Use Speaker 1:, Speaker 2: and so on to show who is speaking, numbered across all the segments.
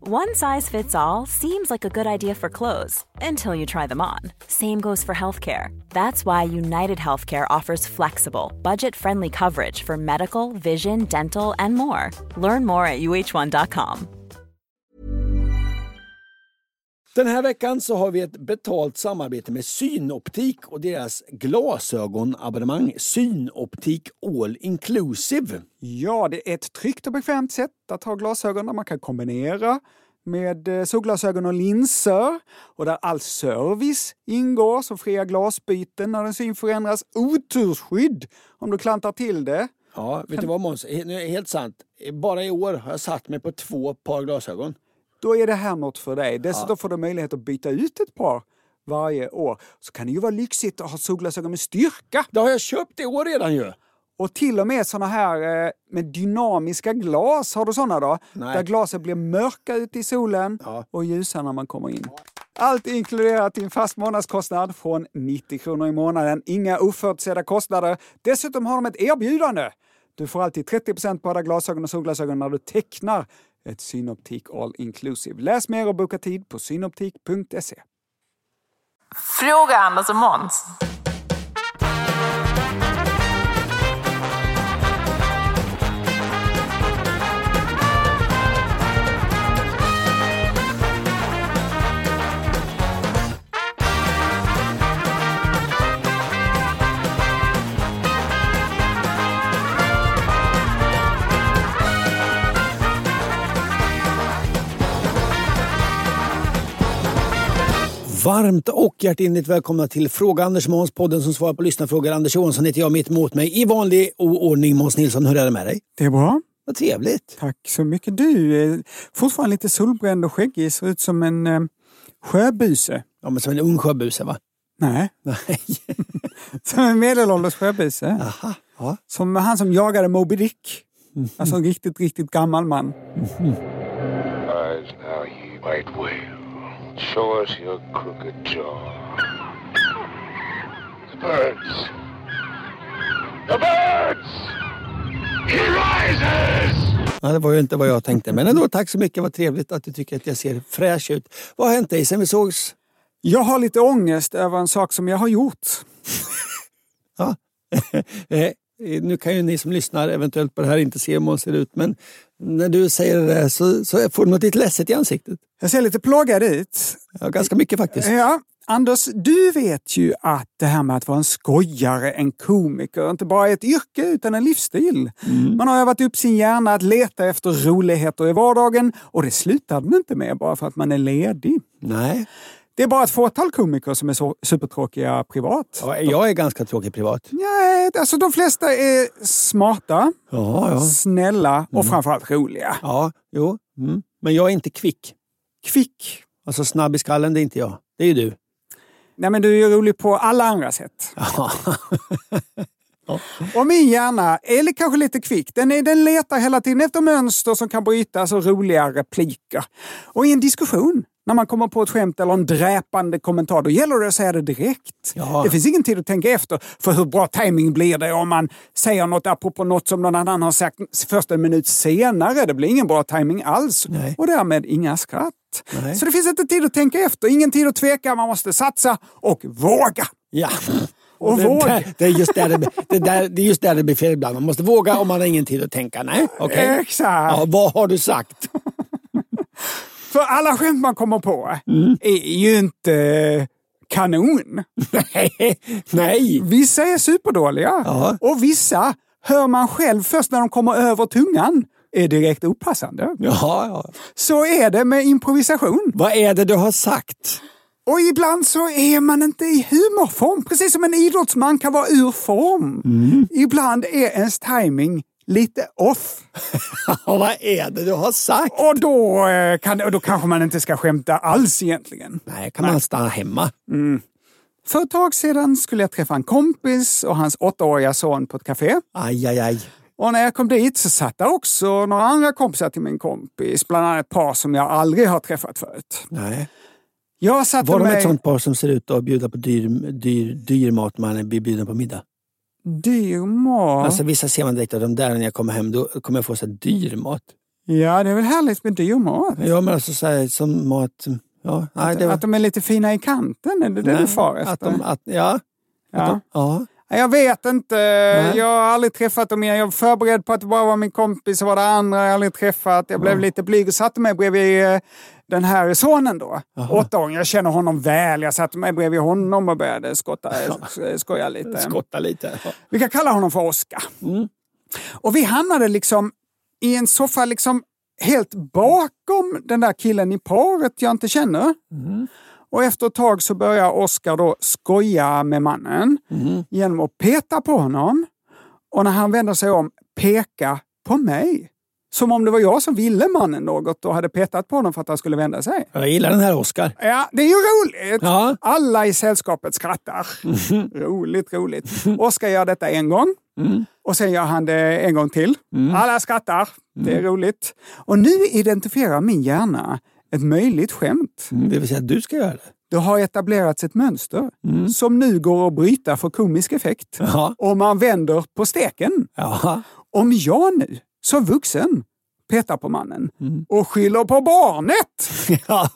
Speaker 1: One size fits all seems like a good idea for clothes until you try them on. Same goes for healthcare. That's why United Healthcare offers flexible, budget friendly coverage for medical, vision, dental, and more. Learn more at uh1.com.
Speaker 2: Den här veckan så har vi ett betalt samarbete med Synoptik och deras glasögonabonnemang Synoptik All Inclusive.
Speaker 3: Ja, det är ett tryggt och bekvämt sätt att ha glasögon där man kan kombinera med eh, solglasögon och linser och där all service ingår som fria glasbyten när din syn förändras, otursskydd om du klantar till det.
Speaker 2: Ja, vet du vad Måns? He- nu är det Helt sant. Bara i år har jag satt mig på två par glasögon.
Speaker 3: Då är det här något för dig. Dessutom får du möjlighet att byta ut ett par varje år. Så kan det ju vara lyxigt att ha solglasögon med styrka.
Speaker 2: Det har jag köpt i år redan ju!
Speaker 3: Och till och med såna här eh, med dynamiska glas, har du såna då?
Speaker 2: Nej.
Speaker 3: Där glasen blir mörka ute i solen och ljusa när man kommer in. Allt inkluderat i en fast månadskostnad från 90 kronor i månaden. Inga oförutsedda kostnader. Dessutom har de ett erbjudande. Du får alltid 30 på alla glasögon och solglasögon när du tecknar ett Synoptik All Inclusive. Läs mer och boka tid på synoptik.se.
Speaker 4: Fråga Anders och Måns.
Speaker 2: Varmt och hjärtinligt välkomna till Fråga Anders Måns, podden som svarar på lyssnarfrågor. Anders Johansson heter jag, mitt emot mig i vanlig oordning. Måns Nilsson, hur är det med dig?
Speaker 3: Det är bra.
Speaker 2: Vad trevligt.
Speaker 3: Tack så mycket. Du är fortfarande lite solbränd och skäggig. Ser ut som en eh, sjöbuse.
Speaker 2: Ja, men som en ung sjöbuse va?
Speaker 3: Nej,
Speaker 2: Nej.
Speaker 3: som en medelålders sjöbuse.
Speaker 2: Aha. Ja. Mm.
Speaker 3: Som han som jagade Moby Dick. Alltså en riktigt, riktigt gammal man.
Speaker 5: Rise now, ye white whale. Show us your crooked jaw. The birds! The birds! He rises!
Speaker 2: ja, det var ju inte vad jag tänkte. Men ändå, tack så mycket. Vad trevligt att du tycker att jag ser fräsch ut. Vad har hänt dig sen vi sågs?
Speaker 3: Jag har lite ångest över en sak som jag har gjort.
Speaker 2: Ja. Eh, nu kan ju ni som lyssnar eventuellt på det här inte se hur Måns ser ut, men när du säger det där så, så får du något lite ledset i ansiktet.
Speaker 3: Jag ser lite plågad ut.
Speaker 2: Ja, ganska mycket faktiskt.
Speaker 3: Ja, Anders, du vet ju att det här med att vara en skojare, en komiker, inte bara är ett yrke utan en livsstil.
Speaker 2: Mm.
Speaker 3: Man har övat upp sin hjärna att leta efter roligheter i vardagen och det slutar man inte med bara för att man är ledig.
Speaker 2: Nej.
Speaker 3: Det är bara ett fåtal komiker som är så supertråkiga privat.
Speaker 2: Ja, jag är ganska tråkig privat.
Speaker 3: Nej, alltså de flesta är smarta,
Speaker 2: Ja, ja. Mm.
Speaker 3: snälla och framförallt roliga.
Speaker 2: Ja, jo. Mm. Men jag är inte kvick.
Speaker 3: Kvick.
Speaker 2: Alltså snabb i skallen, det är inte jag. Det är ju du.
Speaker 3: Nej, men du är ju rolig på alla andra sätt.
Speaker 2: Ja.
Speaker 3: Och min hjärna, eller kanske lite kvick, den, är, den letar hela tiden efter mönster som kan brytas och roliga repliker. Och i en diskussion, när man kommer på ett skämt eller en dräpande kommentar, då gäller det att säga det direkt.
Speaker 2: Ja.
Speaker 3: Det finns ingen tid att tänka efter, för hur bra timing blir det om man säger något apropå något som någon annan har sagt först en minut senare? Det blir ingen bra timing alls
Speaker 2: Nej.
Speaker 3: och därmed inga skratt.
Speaker 2: Nej.
Speaker 3: Så det finns inte tid att tänka efter, ingen tid att tveka, man måste satsa och våga.
Speaker 2: ja.
Speaker 3: Och
Speaker 2: det,
Speaker 3: våg.
Speaker 2: där, det, är just där det, det, där, det är just där det blir fel ibland. Man måste våga om man har ingen tid att tänka. Nej, okej.
Speaker 3: Exakt!
Speaker 2: Eh. Ja, vad har du sagt?
Speaker 3: För alla skämt man kommer på
Speaker 2: Mm.
Speaker 3: är ju inte kanon.
Speaker 2: Nej, nej.
Speaker 3: Vissa är superdåliga
Speaker 2: Ja.
Speaker 3: och vissa hör man själv först när de kommer över tungan är direkt opassande.
Speaker 2: Ja, ja.
Speaker 3: Så är det med improvisation.
Speaker 2: Vad är det du har sagt?
Speaker 3: Och ibland så är man inte i humorform, precis som en idrottsman kan vara ur form.
Speaker 2: Mm.
Speaker 3: Ibland är ens timing lite off.
Speaker 2: Ja, vad är det du har sagt?
Speaker 3: Och då, eh, kan, och då kanske man inte ska skämta alls egentligen.
Speaker 2: Nej, kan man stanna hemma?
Speaker 3: För ett tag sedan skulle jag träffa en kompis och hans åttaåriga son på ett café.
Speaker 2: Aj, aj, aj.
Speaker 3: Och när jag kom dit så satt där också några andra kompisar till min kompis. Bland annat ett par som jag aldrig har träffat förut.
Speaker 2: Nej.
Speaker 3: Jag satte
Speaker 2: Var de
Speaker 3: mig...
Speaker 2: ett sånt par som ser ut att bjuda på dyr, dyr, dyr mat man blir bjuden på middag?
Speaker 3: Dyr mat.
Speaker 2: Alltså vissa ser man direkt att de där när jag kommer hem, då kommer jag få så här dyr mat.
Speaker 3: Ja, det är väl härligt med dyr mat?
Speaker 2: Ja, men alltså så här, som mat... Ja, nej, det var,
Speaker 3: Att de är lite fina i kanten, är det det du far efter?
Speaker 2: att de, att, ja,
Speaker 3: ja.
Speaker 2: ja.
Speaker 3: Nej, Jag vet inte. Jag har aldrig träffat dem igen. Jag var förberedd på att det bara var min kompis och var det andra jag aldrig träffat. Jag blev lite blyg och satte mig bredvid eh, den här sonen då. Åttaåring. Jag känner honom väl. Jag satte mig bredvid honom och började skotta, eh, skoja lite.
Speaker 2: Skotta lite. Ja.
Speaker 3: Vi kan kalla honom för Oskar. Och vi hamnade liksom i en soffa liksom helt bakom den där killen i paret jag inte känner. Och efter ett tag så börjar Oskar då skoja med mannen genom att peta på honom. Och när han vänder sig om, peka på mig. Som om det var jag som ville mannen något och hade petat på honom för att han skulle vända sig.
Speaker 2: Jag gillar den här Oscar.
Speaker 3: Ja, det är ju roligt.
Speaker 2: Ja.
Speaker 3: Alla i sällskapet skrattar. Roligt, roligt. Oskar gör detta en gång.
Speaker 2: Mm.
Speaker 3: Och sen gör han det en gång till. Alla skrattar. Det
Speaker 2: Mm.
Speaker 3: är roligt. Och nu identifierar min hjärna ett möjligt skämt.
Speaker 2: Det vill säga att du ska göra det.
Speaker 3: Det har etablerats ett mönster som nu går att bryta för komisk effekt.
Speaker 2: Mm. Ja.
Speaker 3: Om man vänder på steken.
Speaker 2: Ja.
Speaker 3: Om jag nu, som vuxen, petar på mannen och skyller på barnet,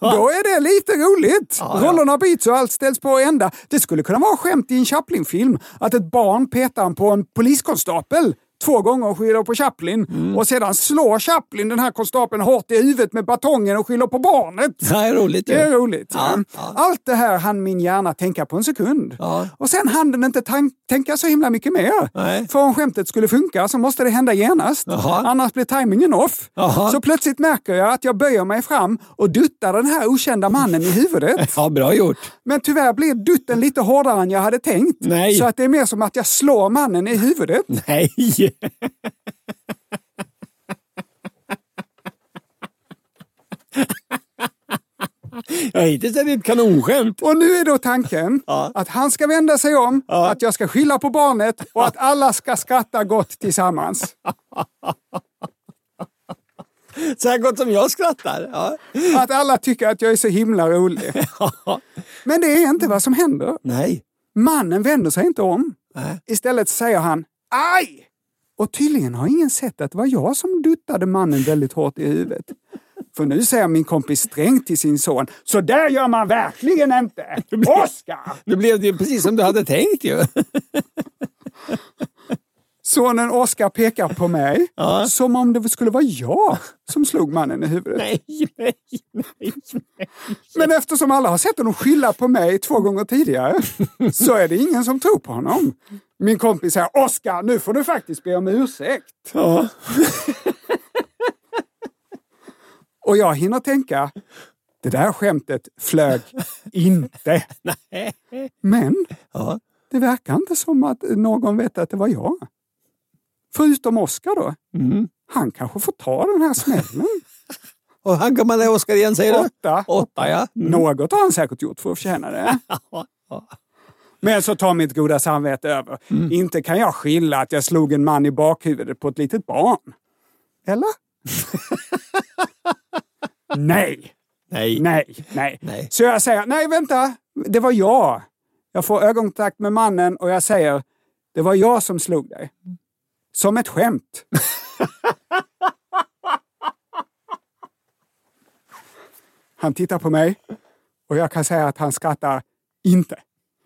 Speaker 3: då är det lite roligt. Rollerna byts och allt ställs på ända. Det skulle kunna vara skämt i en Chaplin-film att ett barn petar på en poliskonstapel två gånger och skyller på Chaplin och sedan slår Chaplin den här konstapeln hårt i huvudet med batongen och skyller på barnet.
Speaker 2: Det här är roligt ju.
Speaker 3: Det är roligt.
Speaker 2: Ja,
Speaker 3: Ja.
Speaker 2: ja.
Speaker 3: Allt det här hann min hjärna tänka på en sekund.
Speaker 2: Ja.
Speaker 3: Och sen hann den inte tan- tänka så himla mycket mer.
Speaker 2: Nej.
Speaker 3: För om skämtet skulle funka så måste det hända genast.
Speaker 2: Jaha.
Speaker 3: Annars blir tajmingen off.
Speaker 2: Jaha.
Speaker 3: Så plötsligt märker jag att jag böjer mig fram och duttar den här okända mannen i huvudet.
Speaker 2: Ja, bra gjort.
Speaker 3: Men tyvärr blir dutten lite hårdare än jag hade tänkt.
Speaker 2: Nej.
Speaker 3: Så att det är mer som att jag slår mannen i huvudet.
Speaker 2: Nej! Ja, hittills är det ett kanonskämt.
Speaker 3: Och nu är då tanken att han ska vända sig om, att jag ska skylla på barnet och att alla ska skratta gott tillsammans.
Speaker 2: Så här gott som jag skrattar. Ja.
Speaker 3: Att alla tycker att jag är så himla rolig. Men det är inte vad som händer.
Speaker 2: Nej.
Speaker 3: Mannen vänder sig inte om.
Speaker 2: Nej.
Speaker 3: Istället säger han aj! Och tydligen har ingen sett att det var jag som duttade mannen väldigt hårt i huvudet. För nu säger min kompis strängt till sin son, så där gör man verkligen inte! Oskar!
Speaker 2: Nu blev det ju precis som du hade tänkt ju.
Speaker 3: Sonen Oskar pekar på mig som om det skulle vara jag som slog mannen i huvudet.
Speaker 2: Nej, nej, nej.
Speaker 3: Men eftersom alla har sett honom skylla på mig två gånger tidigare så är det ingen som tror på honom. Min kompis säger Oskar, nu får du faktiskt be om ursäkt.
Speaker 2: Ja.
Speaker 3: Och jag hinner tänka, det där skämtet flög inte. Men
Speaker 2: Ja.
Speaker 3: det verkar inte som att någon vet att det var jag. Förutom Oskar då.
Speaker 2: Mm.
Speaker 3: Han kanske får ta den här smällen.
Speaker 2: Och han gammal är Oscar igen säger du?
Speaker 3: Åtta.
Speaker 2: Åtta ja.
Speaker 3: Något har han säkert gjort för att förtjäna det. Men så tar mitt goda samvete över. Inte kan jag skilja att jag slog en man i bakhuvudet på ett litet barn. Eller? nej,
Speaker 2: Nej.
Speaker 3: nej, nej,
Speaker 2: Nej.
Speaker 3: Så jag säger, nej vänta, det var jag. Jag får ögonkontakt med mannen och jag säger, det var jag som slog dig. Som ett skämt. Han tittar på mig och jag kan säga att han skrattar inte.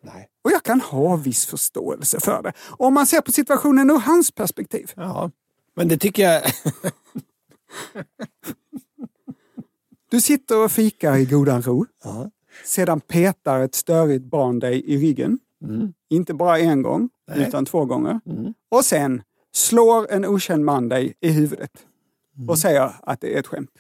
Speaker 2: Nej.
Speaker 3: Och jag kan ha viss förståelse för det. Om man ser på situationen ur hans perspektiv.
Speaker 2: Ja. Men det tycker jag...
Speaker 3: Du sitter och fikar i godan ro. Sedan petar ett störigt barn dig i ryggen.
Speaker 2: Mm.
Speaker 3: Inte bara en gång, utan två gånger. Och sen slår en okänd man dig i huvudet
Speaker 2: Mm.
Speaker 3: och säger att det är ett skämt.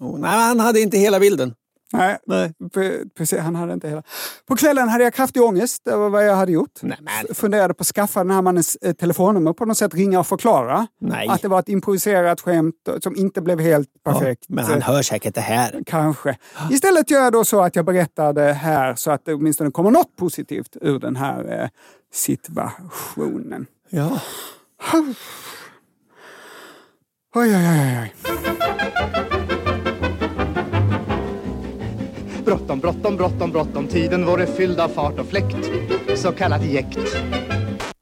Speaker 2: Oh, nej, han hade inte hela bilden.
Speaker 3: Nej,
Speaker 2: Nej.
Speaker 3: Pre- precis. Han hade inte hela. På kvällen hade jag kraftig ångest över vad jag hade gjort.
Speaker 2: Nämen.
Speaker 3: F- Funderade på att skaffa den här mannens eh, telefonnummer på något sätt, ringa och förklara.
Speaker 2: Nej.
Speaker 3: Att det var ett improviserat skämt eh, som inte blev helt perfekt.
Speaker 2: Men han
Speaker 3: Eh,
Speaker 2: hör säkert det här.
Speaker 3: Kanske. Istället gör jag då så att jag berättar det här så att det åtminstone kommer något positivt ur den här eh, situationen.
Speaker 2: Ja.
Speaker 3: Oj, oj, oj, oj.
Speaker 6: Bråttom, bråttom, bråttom, bråttom. Tiden vore fylld av fart och fläkt. Så kallad jäkt.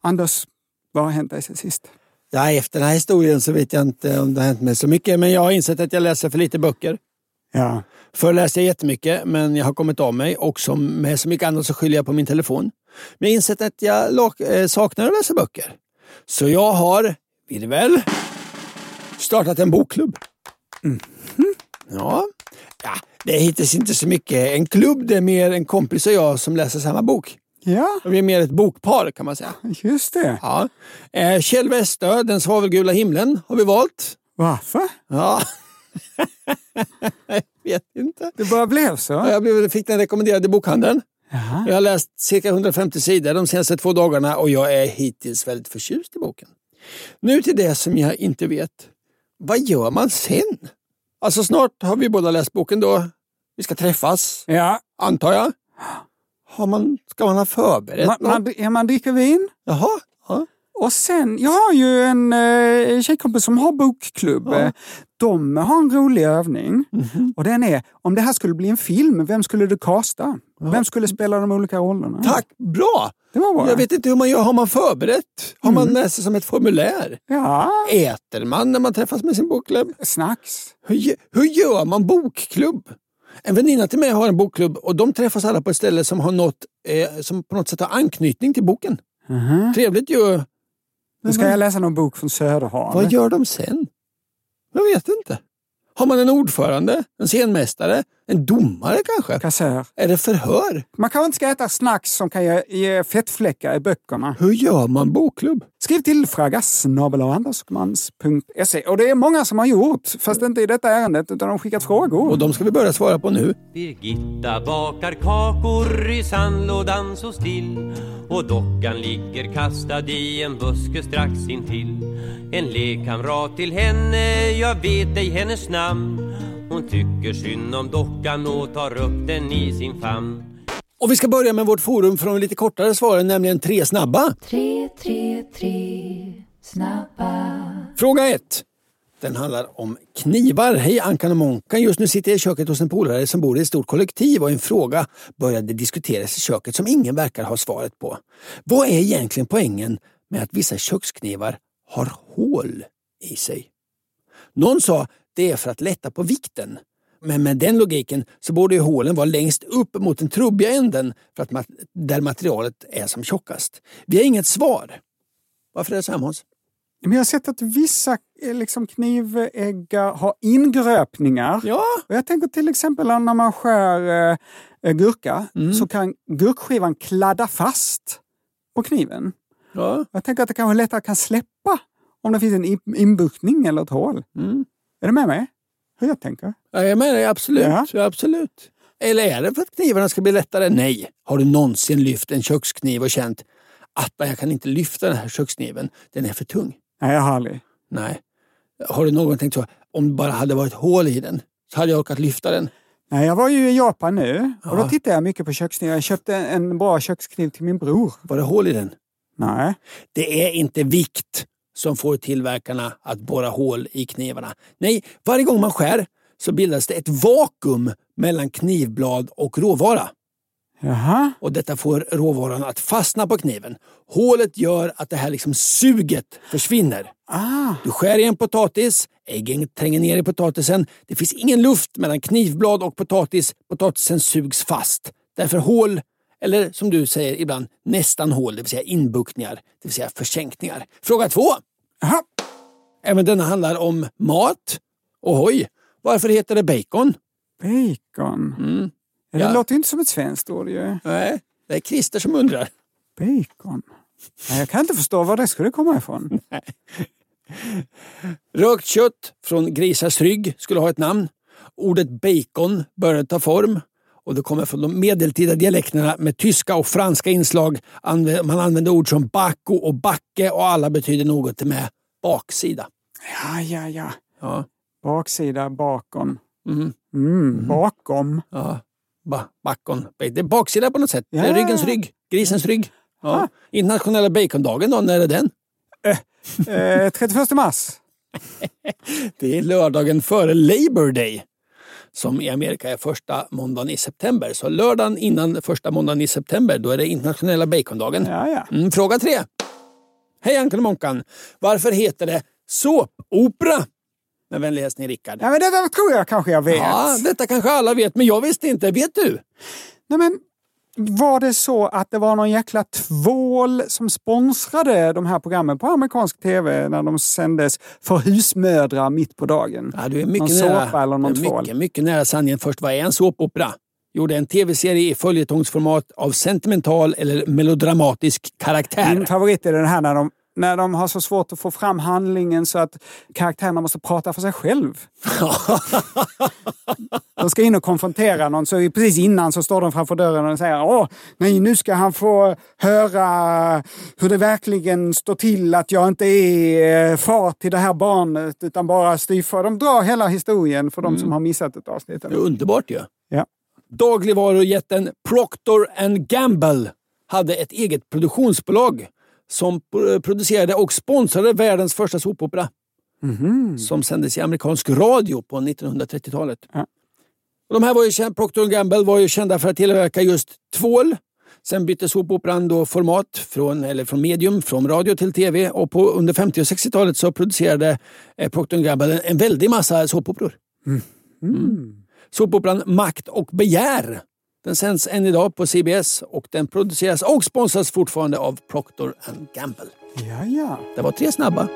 Speaker 3: Anders, vad har hänt dig sen sist?
Speaker 2: Nej, efter den här historien så vet jag inte om det har hänt mig så mycket, men jag har insett att jag läser för lite böcker.
Speaker 3: Ja.
Speaker 2: Förr läste jag jättemycket, men jag har kommit av mig och som med så mycket annat så skyller jag på min telefon. Men jag har insett att jag lak- eh, saknar att läsa böcker. Så jag har, virvel, startat en bokklubb. Ja. ja, det är hittills inte så mycket en klubb. Det är mer en kompis och jag som läser samma bok.
Speaker 3: Ja,
Speaker 2: Vi är mer ett bokpar kan man säga.
Speaker 3: just det.
Speaker 2: Ja. Eh, Kjell Westö, Den svavelgula himlen, har vi valt.
Speaker 3: Varför?
Speaker 2: Ja. jag vet inte.
Speaker 3: Det bara blev så?
Speaker 2: Ja, Jag blev, fick den rekommenderad i bokhandeln. Jag har läst cirka 150 sidor de senaste två dagarna och jag är hittills väldigt förtjust i boken. Nu till det som jag inte vet. Vad gör man sen? Alltså snart har vi båda läst boken då. Vi ska träffas,
Speaker 3: Ja.
Speaker 2: antar jag. Har man, ska man ha förberett
Speaker 3: Man,
Speaker 2: något?
Speaker 3: man, ja, man dricker vin
Speaker 2: Jaha. Ja.
Speaker 3: och sen, jag har ju en eh, tjejkompis som har bokklubb. Eh, De har en rolig övning och den är, om det här skulle bli en film, vem skulle du casta? Vem skulle spela de olika rollerna?
Speaker 2: Tack, bra!
Speaker 3: Det var bra.
Speaker 2: Jag vet inte hur man gör. Har man förberett? Har
Speaker 3: Mm.
Speaker 2: man med sig som ett formulär?
Speaker 3: Ja,
Speaker 2: Äter man när man träffas med sin bokklubb?
Speaker 3: snacks.
Speaker 2: Hur, ge- hur gör man bokklubb? En väninna till mig har en bokklubb och de träffas alla på ett ställe som, har något, eh, som på något sätt har anknytning till boken. Trevligt ju.
Speaker 3: Nu ska jag läsa någon bok från Söderhavet.
Speaker 2: Vad gör de sen? Jag vet inte. Har man en ordförande, en scenmästare, en domare kanske?
Speaker 3: Kassör.
Speaker 2: Är det förhör?
Speaker 3: Man kanske inte ska äta snacks som kan ge, ge fettfläckar i böckerna.
Speaker 2: Hur gör man bokklubb?
Speaker 3: Skriv till fråga snabel-andersmans.se. Och det är många som har gjort, fast inte i detta ärendet, utan de har skickat
Speaker 2: Och
Speaker 3: frågor.
Speaker 2: de ska vi börja svara på nu.
Speaker 7: Birgitta bakar kakor i sandlådan så still och dockan ligger kastad i en buske strax intill. En lekkamrat till henne, jag vet ej hennes namn. Hon tycker synd om dockan och tar upp den i sin famn.
Speaker 2: Och vi ska börja med vårt forum för de lite kortare svaren, nämligen tre snabba.
Speaker 8: Tre, tre, tre, snabba.
Speaker 2: Fråga ett. Den handlar om knivar. Hej Ankan och Monkan. Just nu sitter jag i köket hos en polare som bor i ett stort kollektiv och en fråga började diskuteras i köket som ingen verkar ha svaret på. Vad är egentligen poängen med att vissa köksknivar har hål i sig? Någon sa det är för att lätta på vikten. Men med den logiken så borde ju hålen vara längst upp mot den trubbiga änden för att ma- där materialet är som tjockast. Vi har inget svar. Varför är det så här Måns?
Speaker 3: Men jag har sett att vissa eh, liksom, kniväggar har ingröpningar.
Speaker 2: Ja,
Speaker 3: Och jag tänker till exempel när man skär eh, eh, gurka
Speaker 2: Mm.
Speaker 3: så kan gurkskivan kladda fast på kniven.
Speaker 2: Ja.
Speaker 3: Jag tänker att det kanske lättare kan släppa om det finns en in- inbuktning eller ett hål.
Speaker 2: Mm.
Speaker 3: Är du med mig? Hur jag tänker?
Speaker 2: Ja, jag menar absolut.
Speaker 3: Ja.
Speaker 2: Ja. absolut. Eller är det för att knivarna ska bli lättare? Nej. Har du någonsin lyft en kökskniv och känt att jag kan inte lyfta den här kökskniven, den är för tung?
Speaker 3: Nej, jag har aldrig.
Speaker 2: Nej. Har du någon gång tänkt så, om det bara hade varit hål i den så hade jag orkat lyfta den?
Speaker 3: Nej, jag var ju i Japan nu och då tittade jag mycket på köksknivar. Jag köpte en, en bra kökskniv till min bror.
Speaker 2: Var det hål i den?
Speaker 3: Nej.
Speaker 2: Det är inte vikt som får tillverkarna att borra hål i knivarna. Nej, varje gång man skär så bildas det ett vakuum mellan knivblad och råvara.
Speaker 3: Jaha.
Speaker 2: och detta får råvaran att fastna på kniven. Hålet gör att det här liksom suget försvinner.
Speaker 3: Ah.
Speaker 2: Du skär i en potatis, äggen tränger ner i potatisen. Det finns ingen luft mellan knivblad och potatis. Potatisen sugs fast. Därför hål, eller som du säger ibland, nästan hål, det vill säga inbuktningar, det vill säga försänkningar. Fråga två.
Speaker 3: Jaha.
Speaker 2: Även denna handlar om mat. Ohoj! Varför heter det bacon?
Speaker 3: Bacon. Ja, Det
Speaker 2: Mm. Ja.
Speaker 3: låter ju inte som ett svenskt ord ju.
Speaker 2: Nej, det är Christer som undrar.
Speaker 3: Bacon. Nej, jag kan inte förstå var det skulle komma ifrån.
Speaker 2: Rökt kött från grisars rygg skulle ha ett namn. Ordet bacon började ta form och det kommer från de medeltida dialekterna med tyska och franska inslag. Anv- Man använde ord som bacco och backe och alla betyder något med baksida.
Speaker 3: Ja, ja, ja.
Speaker 2: Ja,
Speaker 3: Baksida, bakom.
Speaker 2: mm,
Speaker 3: Mm, bakom.
Speaker 2: ja. Ba- bacon. Det är baksida på något sätt. Det
Speaker 3: Ja.
Speaker 2: är ryggens rygg. Grisens rygg. Ja. Internationella bacondagen då, när är den?
Speaker 3: Eh, 31 mars.
Speaker 2: Det är lördagen före Labor Day som i Amerika är första måndagen i september. Så lördagen innan första måndagen i september, då är det internationella bacondagen.
Speaker 3: Ja, ja.
Speaker 2: Mm, fråga tre. Hej Ankan och Monkan! Varför heter det såpopera? Med vänlig hälsning Rickard.
Speaker 3: Ja, men det där tror jag kanske jag vet.
Speaker 2: Ja, detta kanske alla vet, men jag visste inte. Vet du?
Speaker 3: Nej, men var det så att det var någon jäkla tvål som sponsrade de här programmen på amerikansk tv när de sändes för husmödrar mitt på dagen?
Speaker 2: Ja, du är mycket
Speaker 3: någon
Speaker 2: nära,
Speaker 3: såpa eller någon
Speaker 2: du är
Speaker 3: tvål?
Speaker 2: mycket, mycket nära sanningen. Först, vad är en såpopera? Jo, det är en tv-serie i följetongsformat av sentimental eller melodramatisk karaktär.
Speaker 3: Min favorit är den här när de, när de har så svårt att få fram handlingen så att karaktärerna måste prata för sig själv. de ska in och konfrontera någon, så precis innan så står de framför dörren och säger Åh, nej, nu ska han få höra hur det verkligen står till att jag inte är eh, far till det här barnet utan bara styvfar. De drar hela historien för de som har missat ett avsnitt.
Speaker 2: Det är underbart ju.
Speaker 3: Ja.
Speaker 2: Dagligvarujätten Procter and Gamble hade ett eget produktionsbolag som pro- producerade och sponsrade världens första såpopera.
Speaker 3: Mhm.
Speaker 2: Som sändes i amerikansk radio på 1930-talet.
Speaker 3: Ja.
Speaker 2: Och de här var ju, känd- Procter and Gamble var ju kända för att tillverka just tvål. Sen bytte såpoperan då format från, eller från medium, från radio till tv och på, under 50 och 60-talet så producerade eh, Procter and Gamble en, en väldig massa såpoperor. Såpoperan Makt och begär. Den sänds än idag på CBS och den produceras och sponsras fortfarande av Procter and Gamble.
Speaker 3: Ja, ja.
Speaker 2: Det var tre snabba.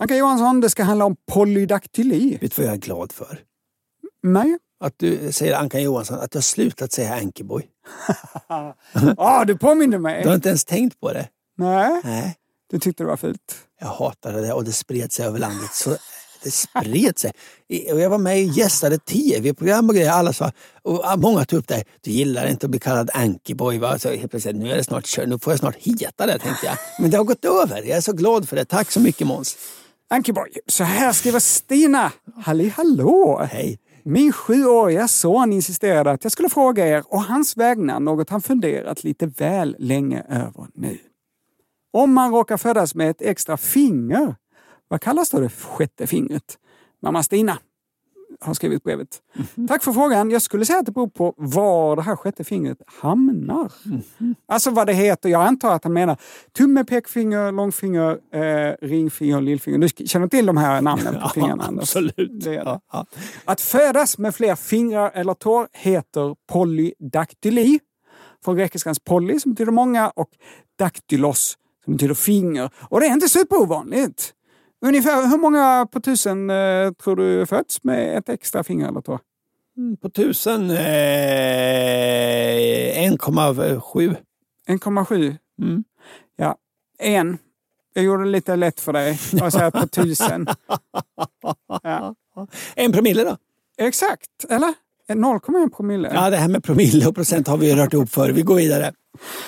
Speaker 3: Anka Johansson, det ska handla om polydaktyli.
Speaker 2: Vet du vad jag är glad för?
Speaker 3: Nej.
Speaker 2: Att du säger Ankan Johansson, att du har slutat säga Ankeborg.
Speaker 3: Ah, du påminner
Speaker 2: Du har
Speaker 3: mig.
Speaker 2: inte ens tänkt på det.
Speaker 3: Nej,
Speaker 2: Nej,
Speaker 3: du tyckte det var fult.
Speaker 2: jag hatade det och det spred sig över landet. Så det spred sig. I- Och jag var med och gästade tv-program och grejer. Alla sa, och många tog upp det. här, Du gillar inte att bli kallad Ankeborg va? Så helt plötsligt, nu är det snart kört. Nu får jag snart heta det, tänkte jag. Men det har gått över. Jag är så glad för det. Tack så mycket Måns.
Speaker 3: Ankeborg, så här skriver Stina. Halli hallå!
Speaker 2: Hej.
Speaker 3: Min sjuåriga son insisterade att jag skulle fråga er och hans vägnar något han funderat lite väl länge över nu. Om man råkar födas med ett extra finger, vad kallas då det sjätte fingret? Mamma Stina har skrivit brevet.
Speaker 2: Mhm.
Speaker 3: Tack för frågan. Jag skulle säga att det beror på var det här sjätte fingret hamnar.
Speaker 2: Mhm.
Speaker 3: Alltså vad det heter. Jag antar att han menar tumme, pekfinger, långfinger, eh, ringfinger och lillfinger. Du känner till de här namnen på fingrarna? Anders?
Speaker 2: absolut.
Speaker 3: Det är det.
Speaker 2: Ja, ja.
Speaker 3: Att födas med fler fingrar eller tår heter polydaktyli. Från grekiskans poly som betyder många och daktylos som betyder finger. Och det är inte superovanligt. Ungefär hur många på tusen eh, tror du föds med ett extra finger eller tå?
Speaker 2: Mm, På tusen, eh, 1,7.
Speaker 3: 1,7?
Speaker 2: Mm.
Speaker 3: Ja, en. Jag gjorde det lite lätt för dig. Jag säger på tusen. Ja.
Speaker 2: En promille då?
Speaker 3: Exakt, eller? 0,1 promille.
Speaker 2: Ja, det här med promille och procent har vi ju rört ihop för. Vi går vidare.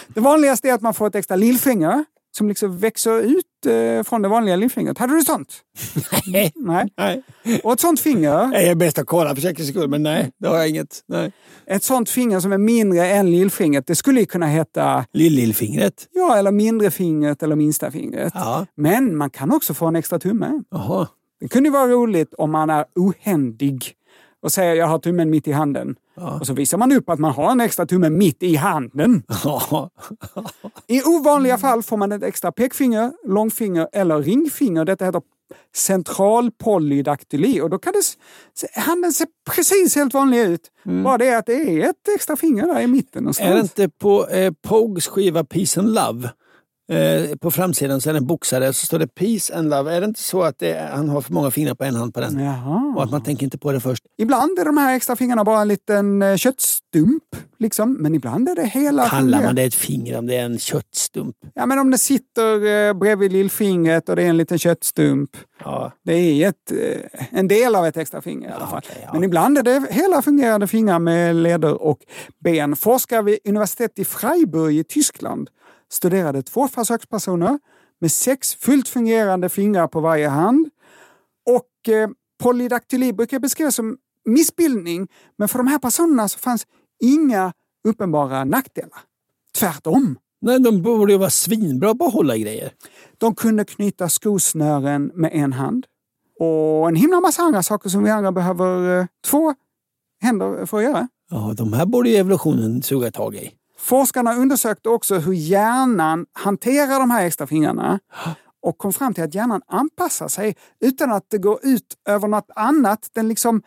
Speaker 3: Det vanligaste är att man får ett extra lillfinger som liksom växer ut eh, från det vanliga lillfingret. Hade du sånt?
Speaker 2: Nej.
Speaker 3: Nej.
Speaker 2: Nej.
Speaker 3: Och ett sånt finger,
Speaker 2: Jag är bäst att kolla för säkerhets skull, men nej, det har jag inget. Nej.
Speaker 3: ett sånt finger som är mindre än lillfingret, det skulle ju kunna heta
Speaker 2: Lill-lillfingret.
Speaker 3: ja, eller mindre fingret eller minsta fingret.
Speaker 2: Ja.
Speaker 3: Men man kan också få en extra tumme.
Speaker 2: Jaha.
Speaker 3: Det kunde ju vara roligt om man är ohändig och säger jag har tummen mitt i handen. Och så visar man upp att man har en extra tumme mitt i handen.
Speaker 2: Ja.
Speaker 3: I ovanliga fall får man ett extra pekfinger, långfinger eller ringfinger. Detta heter central polydaktyli och då kan det, s- se- handen se precis helt vanlig ut. Bara det att det är ett extra finger där i mitten någonstans.
Speaker 2: Mm. Är det inte på eh, Pogues skiva Peace and Love? Eh, på framsidan så är det en boxare så står det Peace and Love. Är det inte så att det, är- han har för många fingrar på en hand på den?
Speaker 3: Jaha.
Speaker 2: Och att man tänker inte på det först?
Speaker 3: Ibland är de här extra fingrarna bara en liten eh, köttstump, liksom. men ibland är det hela
Speaker 2: Kallar
Speaker 3: fingret.
Speaker 2: man det ett finger om det är en köttstump?
Speaker 3: Ja, men om det sitter eh, bredvid lillfingret och det är en liten köttstump.
Speaker 2: Ja.
Speaker 3: Det är ett, eh, en del av ett extra finger i alla fall.
Speaker 2: okej, ja.
Speaker 3: Men ibland är det hela fungerande fingrar med leder och ben. Forskare vid universitetet i Freiburg i Tyskland studerade två försökspersoner med sex fullt fungerande fingrar på varje hand. Och eh, polydaktyli brukar beskrivas som missbildning, men för de här personerna så fanns inga uppenbara nackdelar. Tvärtom.
Speaker 2: Nej, de borde ju vara svinbra på att hålla i grejer.
Speaker 3: De kunde knyta skosnören med en hand. Och en himla massa andra saker som vi andra behöver eh, två händer för att göra.
Speaker 2: Ja, de här borde ju evolutionen suga tag i.
Speaker 3: Forskarna undersökte också hur hjärnan hanterar de här extra fingrarna och kom fram till att hjärnan anpassar sig utan att det går ut över något annat. Den liksom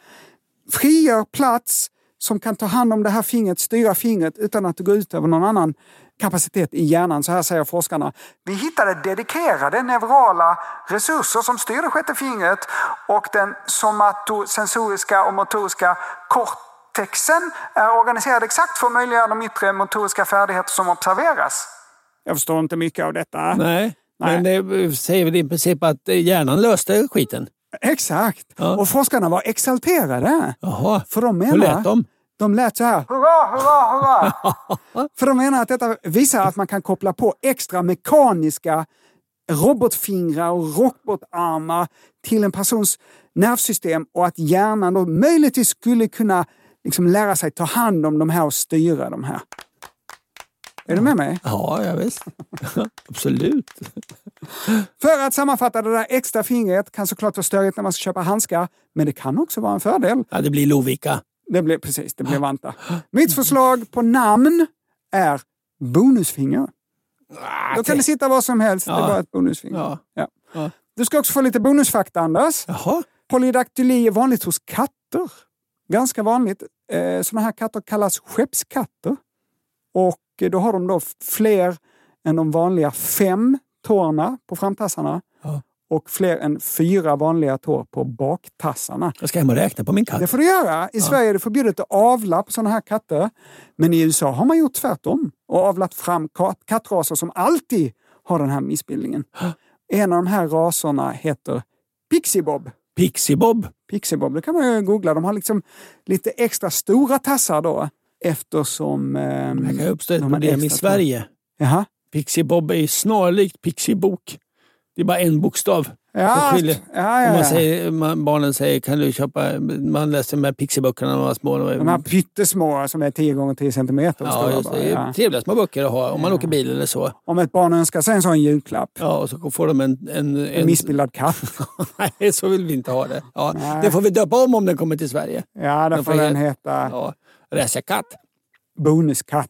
Speaker 3: frigör plats som kan ta hand om det här fingret, styra fingret utan att det går ut över någon annan kapacitet i hjärnan. Så här säger forskarna. Vi hittade dedikerade neurala resurser som styr det sjätte fingret och den somatosensoriska och motoriska kort Texten är organiserad exakt för att möjliggöra de yttre motoriska färdigheter som observeras. Jag förstår inte mycket av detta.
Speaker 2: Nej, men det eh, säger väl i princip att eh, hjärnan löste skiten.
Speaker 3: Exakt!
Speaker 2: Ja.
Speaker 3: Och forskarna var exalterade.
Speaker 2: Jaha,
Speaker 3: För de menar...
Speaker 2: hur lät de?
Speaker 3: De lät så här. Hurra, hurra, hurra! För de menar att detta visar att man kan koppla på extra mekaniska robotfingrar och robotarmar till en persons nervsystem och att hjärnan då möjligtvis skulle kunna liksom lära sig ta hand om de här och styra de här. Är du med mig?
Speaker 2: Ja, ja visst. Absolut.
Speaker 3: För att sammanfatta, det där extra fingret kan såklart vara störigt när man ska köpa handskar, men det kan också vara en fördel.
Speaker 2: Ja, det blir Lovika.
Speaker 3: Det blev precis, det blev
Speaker 2: Ah.
Speaker 3: Vanta. Mitt förslag på namn är bonusfinger. Då kan det sitta vad som helst, det är
Speaker 2: Ah, Ja.
Speaker 3: bara ett bonusfinger.
Speaker 2: Ja.
Speaker 3: Ja.
Speaker 2: Ja.
Speaker 3: Du ska också få lite bonusfakta, Anders.
Speaker 2: Jaha.
Speaker 3: Polydaktyli är vanligt hos katter. Ganska vanligt. Eh, Sådana här katter kallas skeppskatter. Och eh, då har de då fler än de vanliga fem tårna på framtassarna
Speaker 2: Ja.
Speaker 3: och fler än fyra vanliga tår på baktassarna.
Speaker 2: Jag ska hem och räkna på min
Speaker 3: Det
Speaker 2: katt.
Speaker 3: får du göra. I Sverige är det förbjudet att avla på sådana här katter. Men i USA har man gjort tvärtom och avlat fram kat- kattraser som alltid har den här missbildningen. En av de här raserna heter Pixie Bob.
Speaker 2: Pixie Bob.
Speaker 3: Pixie Bob, det kan man ju googla. De har liksom lite extra stora tassar då eftersom...
Speaker 2: Det
Speaker 3: ehm,
Speaker 2: kan ju uppstå ett
Speaker 3: de har
Speaker 2: problem i
Speaker 3: extra tår.
Speaker 2: Sverige.
Speaker 3: Jaha.
Speaker 2: Pixie Bob är ju snarlikt Pixie Bok. Det är bara en bokstav.
Speaker 3: Ja,
Speaker 2: som skiljer.
Speaker 3: ja, ja,
Speaker 2: Om
Speaker 3: ja.
Speaker 2: man säger, man, barnen säger, kan du köpa... Man läste de här Pixie-böckerna när man var små.
Speaker 3: De här pyttesmå som är 10 gånger 10 centimeter
Speaker 2: ja,
Speaker 3: stora
Speaker 2: just
Speaker 3: bara,
Speaker 2: det. Det är
Speaker 3: ja.
Speaker 2: trevliga små böcker att ha om man åker bil eller så.
Speaker 3: Om ett barn önskar sig en sån julklapp.
Speaker 2: Ja, och så får de en... En,
Speaker 3: En
Speaker 2: en
Speaker 3: missbildad katt.
Speaker 2: Nej, så vill vi inte ha det. Ja, det får vi döpa om om den kommer till Sverige.
Speaker 3: Ja, där
Speaker 2: Den
Speaker 3: får
Speaker 2: får
Speaker 3: den
Speaker 2: he-
Speaker 3: heta
Speaker 2: Ja, Racerkatt.
Speaker 3: Bonuskatt.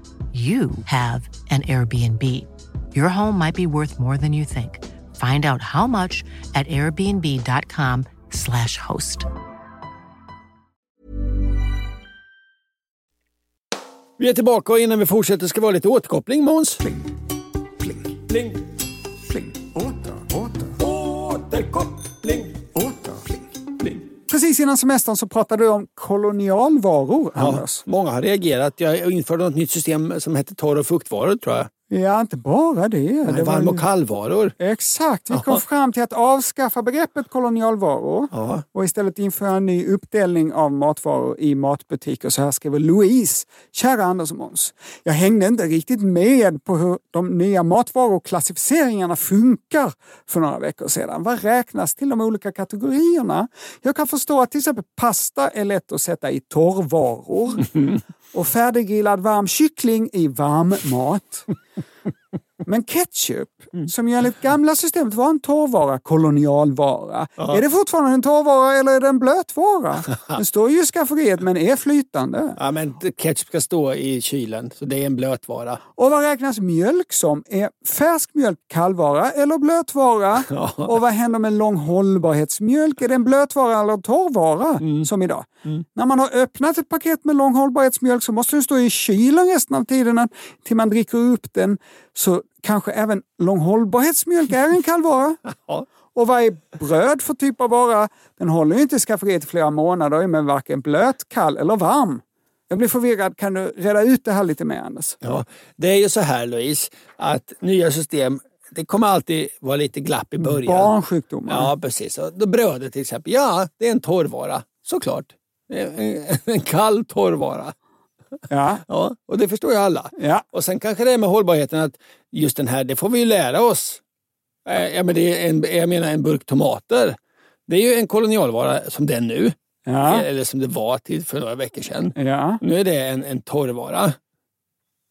Speaker 9: you have an Airbnb. Your home might be worth more than you think. Find out how much at airbnb.com/slash host.
Speaker 2: Vi är tillbaka och innan vi fortsätter ska vi ha lite återkoppling Måns. Pling, pling, pling, Återkoppling.
Speaker 3: Precis innan semestern så pratade du om kolonialvaror,
Speaker 2: Ja,
Speaker 3: Anders.
Speaker 2: Alltså, många har reagerat. Jag införde något nytt system som hette torr och fuktvaror tror jag.
Speaker 3: Ja, inte bara det.
Speaker 2: Nej,
Speaker 3: det
Speaker 2: varm
Speaker 3: ju-
Speaker 2: och kallvaror.
Speaker 3: Exakt, vi
Speaker 2: Ja.
Speaker 3: kom fram till att avskaffa begreppet kolonialvaror
Speaker 2: Ja.
Speaker 3: och istället införa en ny uppdelning av matvaror i matbutiker. Så här skriver Louise. Kära Anders och Måns. Jag hängde inte riktigt med på hur de nya matvaruklassificeringarna funkar för några veckor sedan. Vad räknas till de olika kategorierna? Jag kan förstå att till exempel pasta är lätt att sätta i torrvaror och färdiggrillad varm kyckling i varm mat. Men ketchup, som ju enligt gamla systemet var en torrvara, kolonialvara.
Speaker 2: Ja.
Speaker 3: Är det fortfarande en torrvara eller är det en blötvara? Den står ju i skafferiet men är flytande.
Speaker 2: Ja, men ketchup ska stå i kylen, så det är en blötvara.
Speaker 3: Och vad räknas mjölk som? Är färsk mjölk kallvara eller blötvara?
Speaker 2: Ja.
Speaker 3: Och vad händer med lång hållbarhetsmjölk? Är det en blötvara eller en torrvara
Speaker 2: Mm.
Speaker 3: som idag? När man har öppnat ett paket med lång hållbarhetsmjölk så måste den stå i kylen resten av tiden till man dricker upp den. Så kanske även lång hållbarhetsmjölk är en kallvara.
Speaker 2: Ja.
Speaker 3: Och vad är bröd för typ av vara? Den håller ju inte i skafferiet i flera månader men varken blöt, kall eller varm. Jag blir förvirrad. Kan du reda ut det här lite mer, Anders?
Speaker 2: Ja, det är ju så här Louise, att nya system det kommer alltid vara lite glapp i början.
Speaker 3: Barnsjukdomar.
Speaker 2: Ja, precis. Och då brödet till exempel. Ja, det är en torrvara, såklart. En, en kall torrvara.
Speaker 3: Ja.
Speaker 2: Ja, och det förstår ju alla.
Speaker 3: Ja.
Speaker 2: Och sen kanske det är med hållbarheten att just den här, det får vi ju lära oss. Eh, Ja, men det är en, jag menar en burk tomater. Det är ju en kolonialvara som det är nu. eh,
Speaker 3: Ja.
Speaker 2: Eller som det var till för några veckor sedan.
Speaker 3: Ja.
Speaker 2: Nu är det en, en torrvara.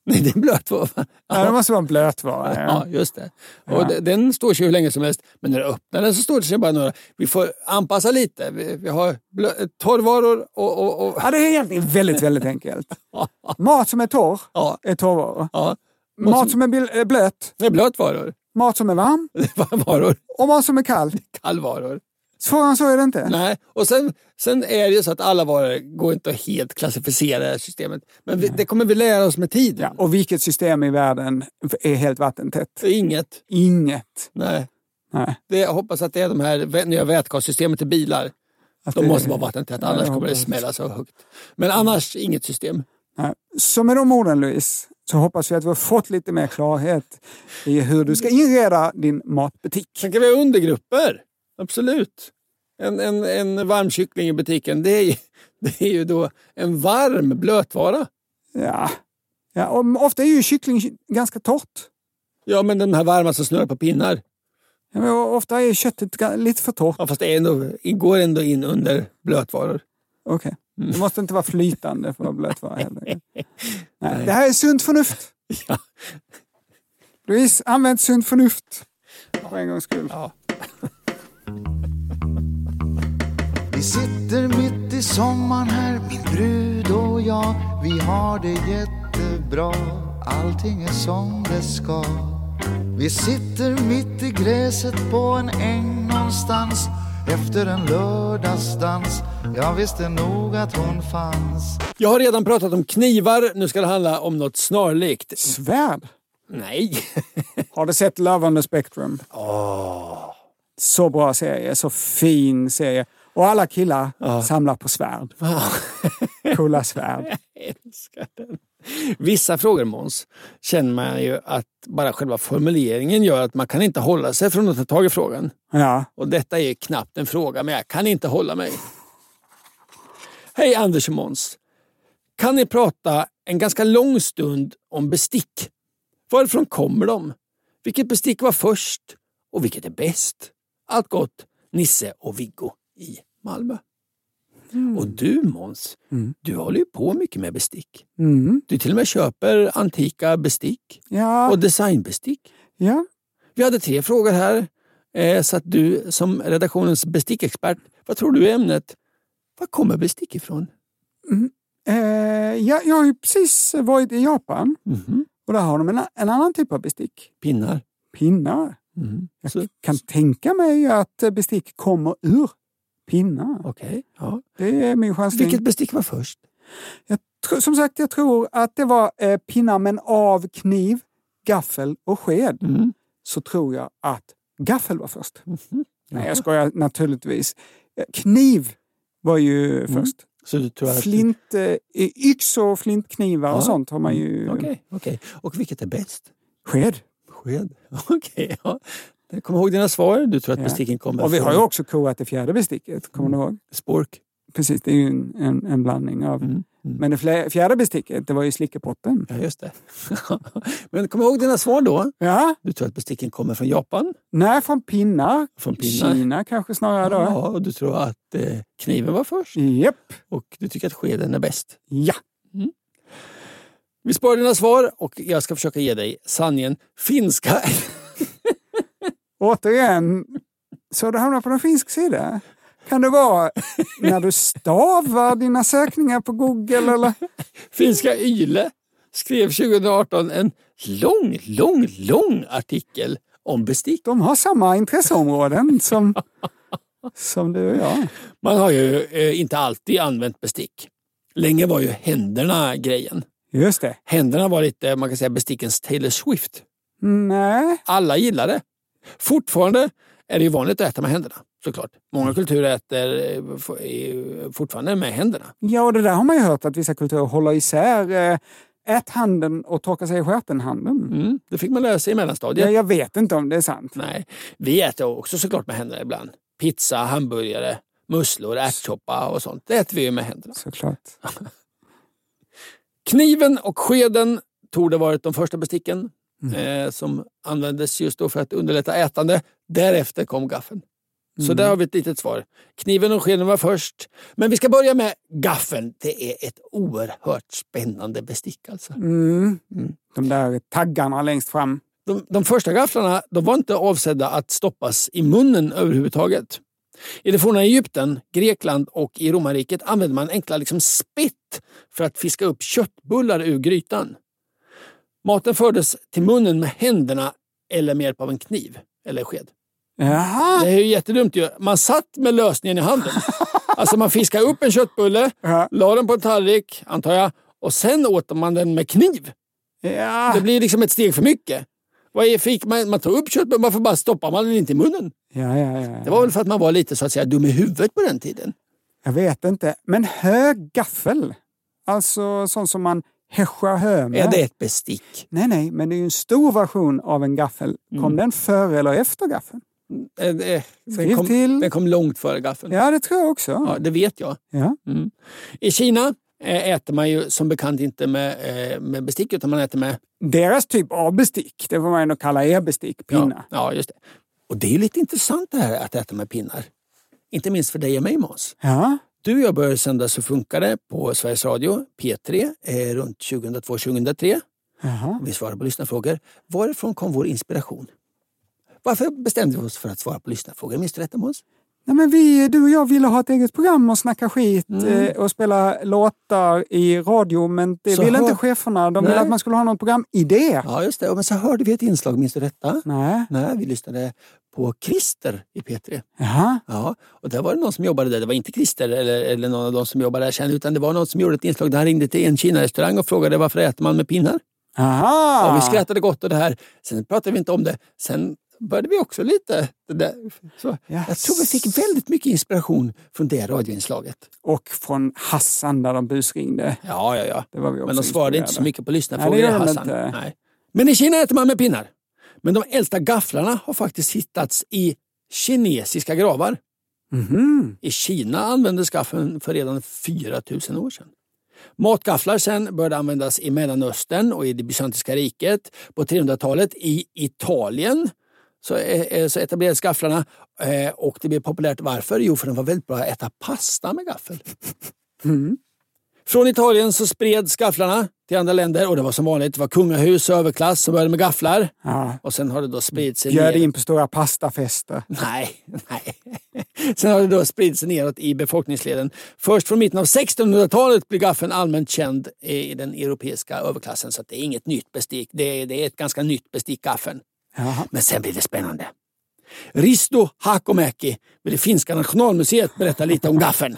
Speaker 2: Nej, det är en blötvara.
Speaker 3: ja, det måste vara en blötvara.
Speaker 2: Ja,
Speaker 3: Ja.
Speaker 2: just det.
Speaker 3: Ja.
Speaker 2: Och de- den står sig hur länge som helst, men när du öppnar den så står det sig bara några. Vi får anpassa lite. Vi, vi har blö- torrvaror och... och, och
Speaker 3: ja, det är egentligen väldigt, väldigt enkelt. Mat som är torr
Speaker 2: Ja.
Speaker 3: är torrvaror.
Speaker 2: ja.
Speaker 3: Mat som är bil- är blöt,
Speaker 2: Det är blötvaror.
Speaker 3: mat som är varm
Speaker 2: Varor.
Speaker 3: och mat som är kall.
Speaker 2: Kallvaror.
Speaker 3: Svårare än så är det inte.
Speaker 2: Nej, och sen, sen är det ju så att alla varor går inte att helt klassificera i det här systemet. Men vi, det kommer vi lära oss med tiden.
Speaker 3: Ja, och vilket system i världen är helt vattentätt?
Speaker 2: Inget.
Speaker 3: Inget.
Speaker 2: Nej.
Speaker 3: Nej.
Speaker 2: Det, jag hoppas att det är de här vä- nya vätgassystemen till bilar.
Speaker 3: Att
Speaker 2: De
Speaker 3: det-
Speaker 2: måste vara vattentäta, annars
Speaker 3: jag
Speaker 2: kommer det
Speaker 3: hoppas. Mm.
Speaker 2: smälla så högt. Men annars inget system.
Speaker 3: Nej. Så med de orden Louise, så hoppas vi att vi har fått lite mer klarhet i hur du ska inreda din matbutik.
Speaker 2: Sen kan vi ha undergrupper. Absolut. En, en, en varm kyckling i butiken, det är, ju, det är ju då en varm blötvara.
Speaker 3: Ja. Ja, och ofta är ju kyckling ganska torrt.
Speaker 2: Ja, men de här varma som snurrar på pinnar.
Speaker 3: Ja, men ofta är köttet ga- lite för torrt.
Speaker 2: Ja, fast det är ändå, går ändå in under blötvaror.
Speaker 3: Okej. Det måste inte vara flytande för att blötvara heller. Nej, det här är sunt förnuft.
Speaker 2: Ja.
Speaker 3: Louise, använd sunt förnuft. För en gångs skull.
Speaker 10: Vi sitter mitt i sommaren här, min brud och jag. Vi har det jättebra, allting är som det ska. Vi sitter mitt i gräset på en äng någonstans efter en lördagsdans. Jag visste nog att hon fanns.
Speaker 2: Jag har redan pratat om knivar, nu ska det handla om något snarlikt.
Speaker 3: Svärd.
Speaker 2: Nej.
Speaker 3: Har du sett Love on the Spectrum? Så bra serie, så fin serie. Och alla killar samlar på svärd. Coola svärd.
Speaker 2: älskar den. Vissa frågor, Måns, känner man ju att bara själva formuleringen gör att man kan inte hålla sig från att ta tag i frågan.
Speaker 3: Ja.
Speaker 2: Och detta är ju knappt en fråga, men jag kan inte hålla mig. Hej Anders och Måns. Kan ni prata en ganska lång stund om bestick? Varifrån kommer de? Vilket bestick var först? Och vilket är bäst? Allt gott, Nisse och Viggo i Malmö.
Speaker 3: Mm.
Speaker 2: Och du Måns, du håller ju på mycket med bestick.
Speaker 3: Mm.
Speaker 2: Du till och med köper antika bestick
Speaker 3: Ja.
Speaker 2: och designbestick.
Speaker 3: ja.
Speaker 2: Vi hade tre frågor här. Eh, så att du som redaktionens bestickexpert, vad tror du är ämnet? Var kommer bestick ifrån?
Speaker 3: Eh, jag, jag har ju precis varit i Japan och där har de en, en annan typ av bestick.
Speaker 2: Mhm, Pinnar.
Speaker 3: Pinnar.
Speaker 2: Mm.
Speaker 3: Jag
Speaker 2: Så-
Speaker 3: kan tänka mig att eh, bestick kommer ur pinnar.
Speaker 2: Okej. Ja.
Speaker 3: Det är min chansning.
Speaker 2: Vilket bestick var först?
Speaker 3: Jag tro, som sagt, jag tror att det var eh, pinnar men av kniv, gaffel och sked.
Speaker 2: Mm. Mhm.
Speaker 3: Så tror jag att gaffel var först. Nej, jag skojar naturligtvis. Eh, Kniv var ju
Speaker 2: Mm,
Speaker 3: först.
Speaker 2: Så du tror att...
Speaker 3: Flint, eh, yxor, och
Speaker 2: Ja.
Speaker 3: flintknivar
Speaker 2: Mm,
Speaker 3: och sånt har man ju.
Speaker 2: Okej. okej. Och vilket är bäst?
Speaker 3: Sked.
Speaker 2: Sked. Okej, ja. Kom ihåg dina svar. Du tror att
Speaker 3: Ja.
Speaker 2: besticken kommer
Speaker 3: Och vi har ju
Speaker 2: från-
Speaker 3: också koat det fjärde besticket, kommer du ihåg?
Speaker 2: Spork.
Speaker 3: Precis, det är ju en, en, en blandning av...
Speaker 2: Mm,
Speaker 3: Men det flä- fjärde besticket, det var ju slickepotten.
Speaker 2: Ja, just det. Men kom ihåg dina svar då.
Speaker 3: Ja.
Speaker 2: Du tror att besticken kommer från Japan?
Speaker 3: Nej, från pinnar.
Speaker 2: Från pinnar.
Speaker 3: Kina kanske snarare då.
Speaker 2: Ja, och du tror att eh, kniven var först?
Speaker 3: Japp.
Speaker 2: Och du tycker att skeden är bäst?
Speaker 3: Ja.
Speaker 2: Vi sparar dina svar och jag ska försöka ge dig sanningen. Finska.
Speaker 3: Återigen, så du hamnar på den finsk sida? Kan det vara när du stavar dina sökningar på Google? Eller?
Speaker 2: Finska Yle skrev 2018 en lång, lång, lång artikel om bestick.
Speaker 3: De har samma intresseområden som, som du och jag.
Speaker 2: Man har ju eh, inte alltid använt bestick. Länge var ju händerna grejen.
Speaker 3: Just det.
Speaker 2: Händerna var lite, man kan säga, bestickens Taylor Swift.
Speaker 3: Nej.
Speaker 2: Alla gillar det. Fortfarande är det ju vanligt att äta med händerna, såklart. Många kulturer äter eh, f- eh, fortfarande med händerna.
Speaker 3: Ja, och det där har man ju hört att vissa kulturer håller isär. eh, Ät handen och torka sig i stjärten-handen.
Speaker 2: Mm, det fick man lära sig i mellanstadiet.
Speaker 3: Ja, jag vet inte om det är sant.
Speaker 2: Nej, vi äter också såklart med händerna ibland. Pizza, hamburgare, musslor, ärtsoppa och sånt. Det äter vi ju med händerna.
Speaker 3: Såklart.
Speaker 2: Kniven och skeden torde varit de första besticken eh, som användes just då för att underlätta ätande. Därefter kom gaffeln. Så där har vi ett litet svar. Kniven och skeden var först. Men vi ska börja med gaffeln. Det är ett oerhört spännande bestick alltså.
Speaker 3: Mm. De där taggarna längst fram.
Speaker 2: De, de första gafflarna de var inte avsedda att stoppas i munnen överhuvudtaget. I det forna Egypten, Grekland och i romarriket använde man enkla liksom spett för att fiska upp köttbullar ur grytan. Maten fördes till munnen med händerna eller med hjälp av en kniv eller sked.
Speaker 3: Jaha!
Speaker 2: Det är ju jättedumt. Ju. Man satt med lösningen i handen. Alltså man fiskade upp en köttbulle, la den på en tallrik, antar jag, och sen åt man den med kniv.
Speaker 3: Ja.
Speaker 2: Det blir liksom ett steg för mycket. Vad är, fick man, man tar upp köttbullen, varför bara stoppar man den inte i munnen?
Speaker 3: Ja, ja, ja.
Speaker 2: Det var väl för att man var lite så att säga dum i huvudet på den tiden.
Speaker 3: Jag vet inte. Men hög gaffel? Alltså sånt som man häschar hö med?
Speaker 2: Är det ett bestick?
Speaker 3: Nej, nej, men det är ju en stor version av en gaffel.
Speaker 2: Mm.
Speaker 3: Kom den före eller efter gaffeln?
Speaker 2: Eh, det- Den
Speaker 3: Skriv
Speaker 2: kom,
Speaker 3: till.
Speaker 2: den kom långt före gaffeln.
Speaker 3: Ja, det tror jag också.
Speaker 2: Ja, det vet jag.
Speaker 3: Ja.
Speaker 2: Mm. I Kina eh, äter man ju som bekant inte med, eh, med bestick utan man äter med
Speaker 3: Deras typ av bestick, det får man ändå kalla er bestick, pinnar.
Speaker 2: Ja, ja, just det. Och det är ju lite intressant det här att äta med pinnar. Inte minst för dig och mig Måns.
Speaker 3: Ja.
Speaker 2: Du och jag började sända Så funkar det på Sveriges Radio, P3, eh, runt 2002-2003.
Speaker 3: Jaha.
Speaker 2: Vi svarade på lyssnarfrågor. Varifrån kom vår inspiration? Varför bestämde vi oss för att svara på lyssnarfrågor? Minns du detta Måns?
Speaker 3: Nej, men vi, du och jag ville ha ett eget program och snacka skit
Speaker 2: Mm.
Speaker 3: eh, och spela låtar i radio, men det
Speaker 2: Så
Speaker 3: ville
Speaker 2: hör-
Speaker 3: inte cheferna. De ville
Speaker 2: Nej.
Speaker 3: att man skulle ha någon programidé.
Speaker 2: Ja, just det. Ja, Men så hörde vi ett inslag, minns du detta?
Speaker 3: Nej.
Speaker 2: Nej, vi lyssnade på Christer i P3.
Speaker 3: Jaha.
Speaker 2: Ja, och där var det någon som jobbade där. Det var inte Christer eller, eller någon av de som jobbade där sen, utan det var någon som gjorde ett inslag där han ringde till en Kina-restaurang och frågade varför äter man med pinnar?
Speaker 3: Aha.
Speaker 2: Ja, vi skrattade gott och det här. Sen pratade vi inte om det. Sen började vi också lite. Det där. Så, Jag tror vi fick väldigt mycket inspiration från det radioinslaget.
Speaker 3: Och från Hassan där de busringde.
Speaker 2: Ja, ja, ja.
Speaker 3: Det var vi också
Speaker 2: Men de svarade inte så
Speaker 3: inspirerade.
Speaker 2: mycket på lyssnarfrågor
Speaker 3: Nej, det
Speaker 2: i
Speaker 3: gör de
Speaker 2: Hassan.
Speaker 3: inte.
Speaker 2: Nej. Men i Kina äter man med pinnar. Men de äldsta gafflarna har faktiskt hittats i kinesiska gravar.
Speaker 3: Mhm.
Speaker 2: I Kina användes gaffeln för redan 4000 år sedan. Matgafflar sen började användas i Mellanöstern och i det bysantinska riket. På 300-talet i Italien så, eh, eh, så etablerades gafflarna eh, och det blev populärt. Varför? Jo, för de var väldigt bra att äta pasta med gaffel. Mm. Från Italien så spreds gafflarna till andra länder och det var som vanligt. Det var kungahus och överklass som började med gafflar.
Speaker 3: Ja.
Speaker 2: Och sen har det då spridit sig
Speaker 3: Bjöd
Speaker 2: ner-
Speaker 3: in på stora pastafester.
Speaker 2: Nej, nej. Sen har det då spridit sig neråt i befolkningsleden. Först från mitten av 1600-talet blir gaffeln allmänt känd i den europeiska överklassen. Så att det är inget nytt bestick. Det är, det är ett ganska nytt bestick, gaffeln.
Speaker 3: Jaha.
Speaker 2: Men sen blir det spännande. Risto Hakomäki vid det finska nationalmuseet berättar lite om gaffeln.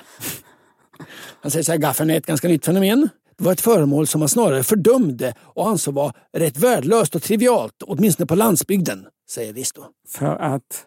Speaker 2: Han säger så här, gaffeln är ett ganska nytt fenomen. Det var ett föremål som man snarare fördömde och ansåg vara rätt värdelöst och trivialt, åtminstone på landsbygden, säger Risto.
Speaker 3: För att...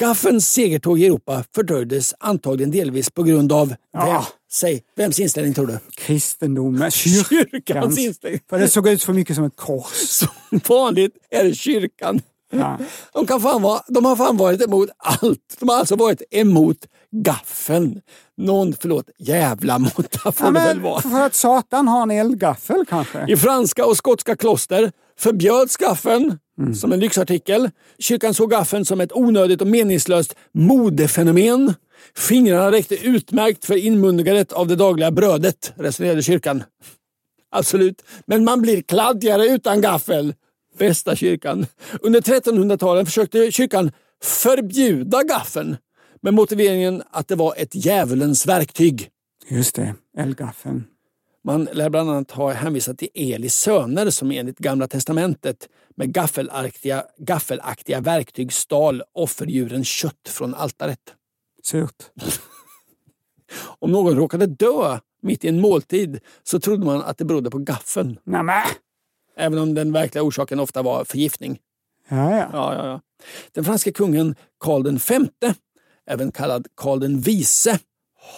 Speaker 2: Gaffens segertåg i Europa fördröjdes antagligen delvis på grund av,
Speaker 3: Ja.
Speaker 2: vem, säg, vems inställning tror du?
Speaker 3: Kristendomen, kyrkans,
Speaker 2: Kyrkans inställning.
Speaker 3: För det såg ut för mycket som ett kors.
Speaker 2: Som vanligt är det kyrkan.
Speaker 3: Ja.
Speaker 2: De, kan fan vara, de har fan varit emot allt. De har alltså varit emot gaffeln. Någon, förlåt, jävla måtta får
Speaker 3: Ja,
Speaker 2: det väl
Speaker 3: men,
Speaker 2: vara.
Speaker 3: för att Satan har en eldgaffel kanske?
Speaker 2: I franska och skotska kloster förbjöds gaffeln som en lyxartikel. Kyrkan såg gaffeln som ett onödigt och meningslöst modefenomen. Fingrarna räckte utmärkt för inmundigandet av det dagliga brödet, resonerade kyrkan. Absolut, men man blir kladdigare utan gaffel. Bästa kyrkan. Under 1300-talet försökte kyrkan förbjuda gaffeln med motiveringen att det var ett djävulens verktyg.
Speaker 3: Just det, eldgaffeln.
Speaker 2: Man lär bland annat ha hänvisat till Elis söner som enligt Gamla testamentet med gaffelaktiga, gaffelaktiga verktyg stal offerdjuren kött från altaret.
Speaker 3: Surt.
Speaker 2: Om någon råkade dö mitt i en måltid så trodde man att det berodde på gaffeln.
Speaker 3: Nämen!
Speaker 2: Även om den verkliga orsaken ofta var förgiftning.
Speaker 3: Ja, ja.
Speaker 2: Ja, ja, ja. Den franske kungen Karl V, även kallad Karl den vise,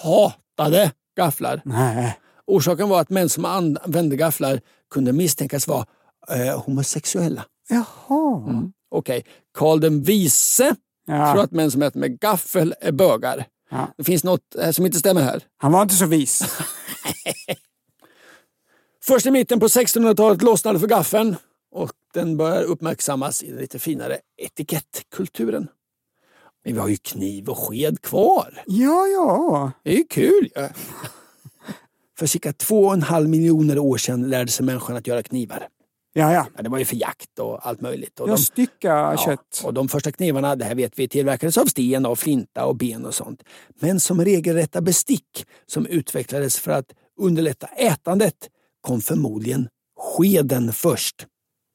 Speaker 2: hatade gafflar.
Speaker 3: Nej.
Speaker 2: Orsaken var att män som använde gafflar kunde misstänkas vara eh, homosexuella.
Speaker 3: Jaha.
Speaker 2: Mm. Okej, Karl den vise
Speaker 3: Ja.
Speaker 2: tror att män som äter med gaffel är bögar.
Speaker 3: Ja.
Speaker 2: Det finns något eh, som inte stämmer här.
Speaker 3: Han var inte så vis.
Speaker 2: Först i mitten på 1600-talet lossnade för gaffeln och den börjar uppmärksammas i den lite finare etikettkulturen. Men vi har ju kniv och sked kvar.
Speaker 3: Ja, ja.
Speaker 2: Det är ju kul ju. För cirka två och en halv miljoner år sedan lärde sig människan att göra knivar.
Speaker 3: Ja, ja.
Speaker 2: Ja, det var ju för jakt och allt möjligt. Och
Speaker 3: Jag
Speaker 2: de-
Speaker 3: styckar
Speaker 2: Ja,
Speaker 3: kött.
Speaker 2: Och de första knivarna, det här vet vi, tillverkades av sten och flinta och ben och sånt. Men som regelrätta bestick som utvecklades för att underlätta ätandet kom förmodligen skeden först.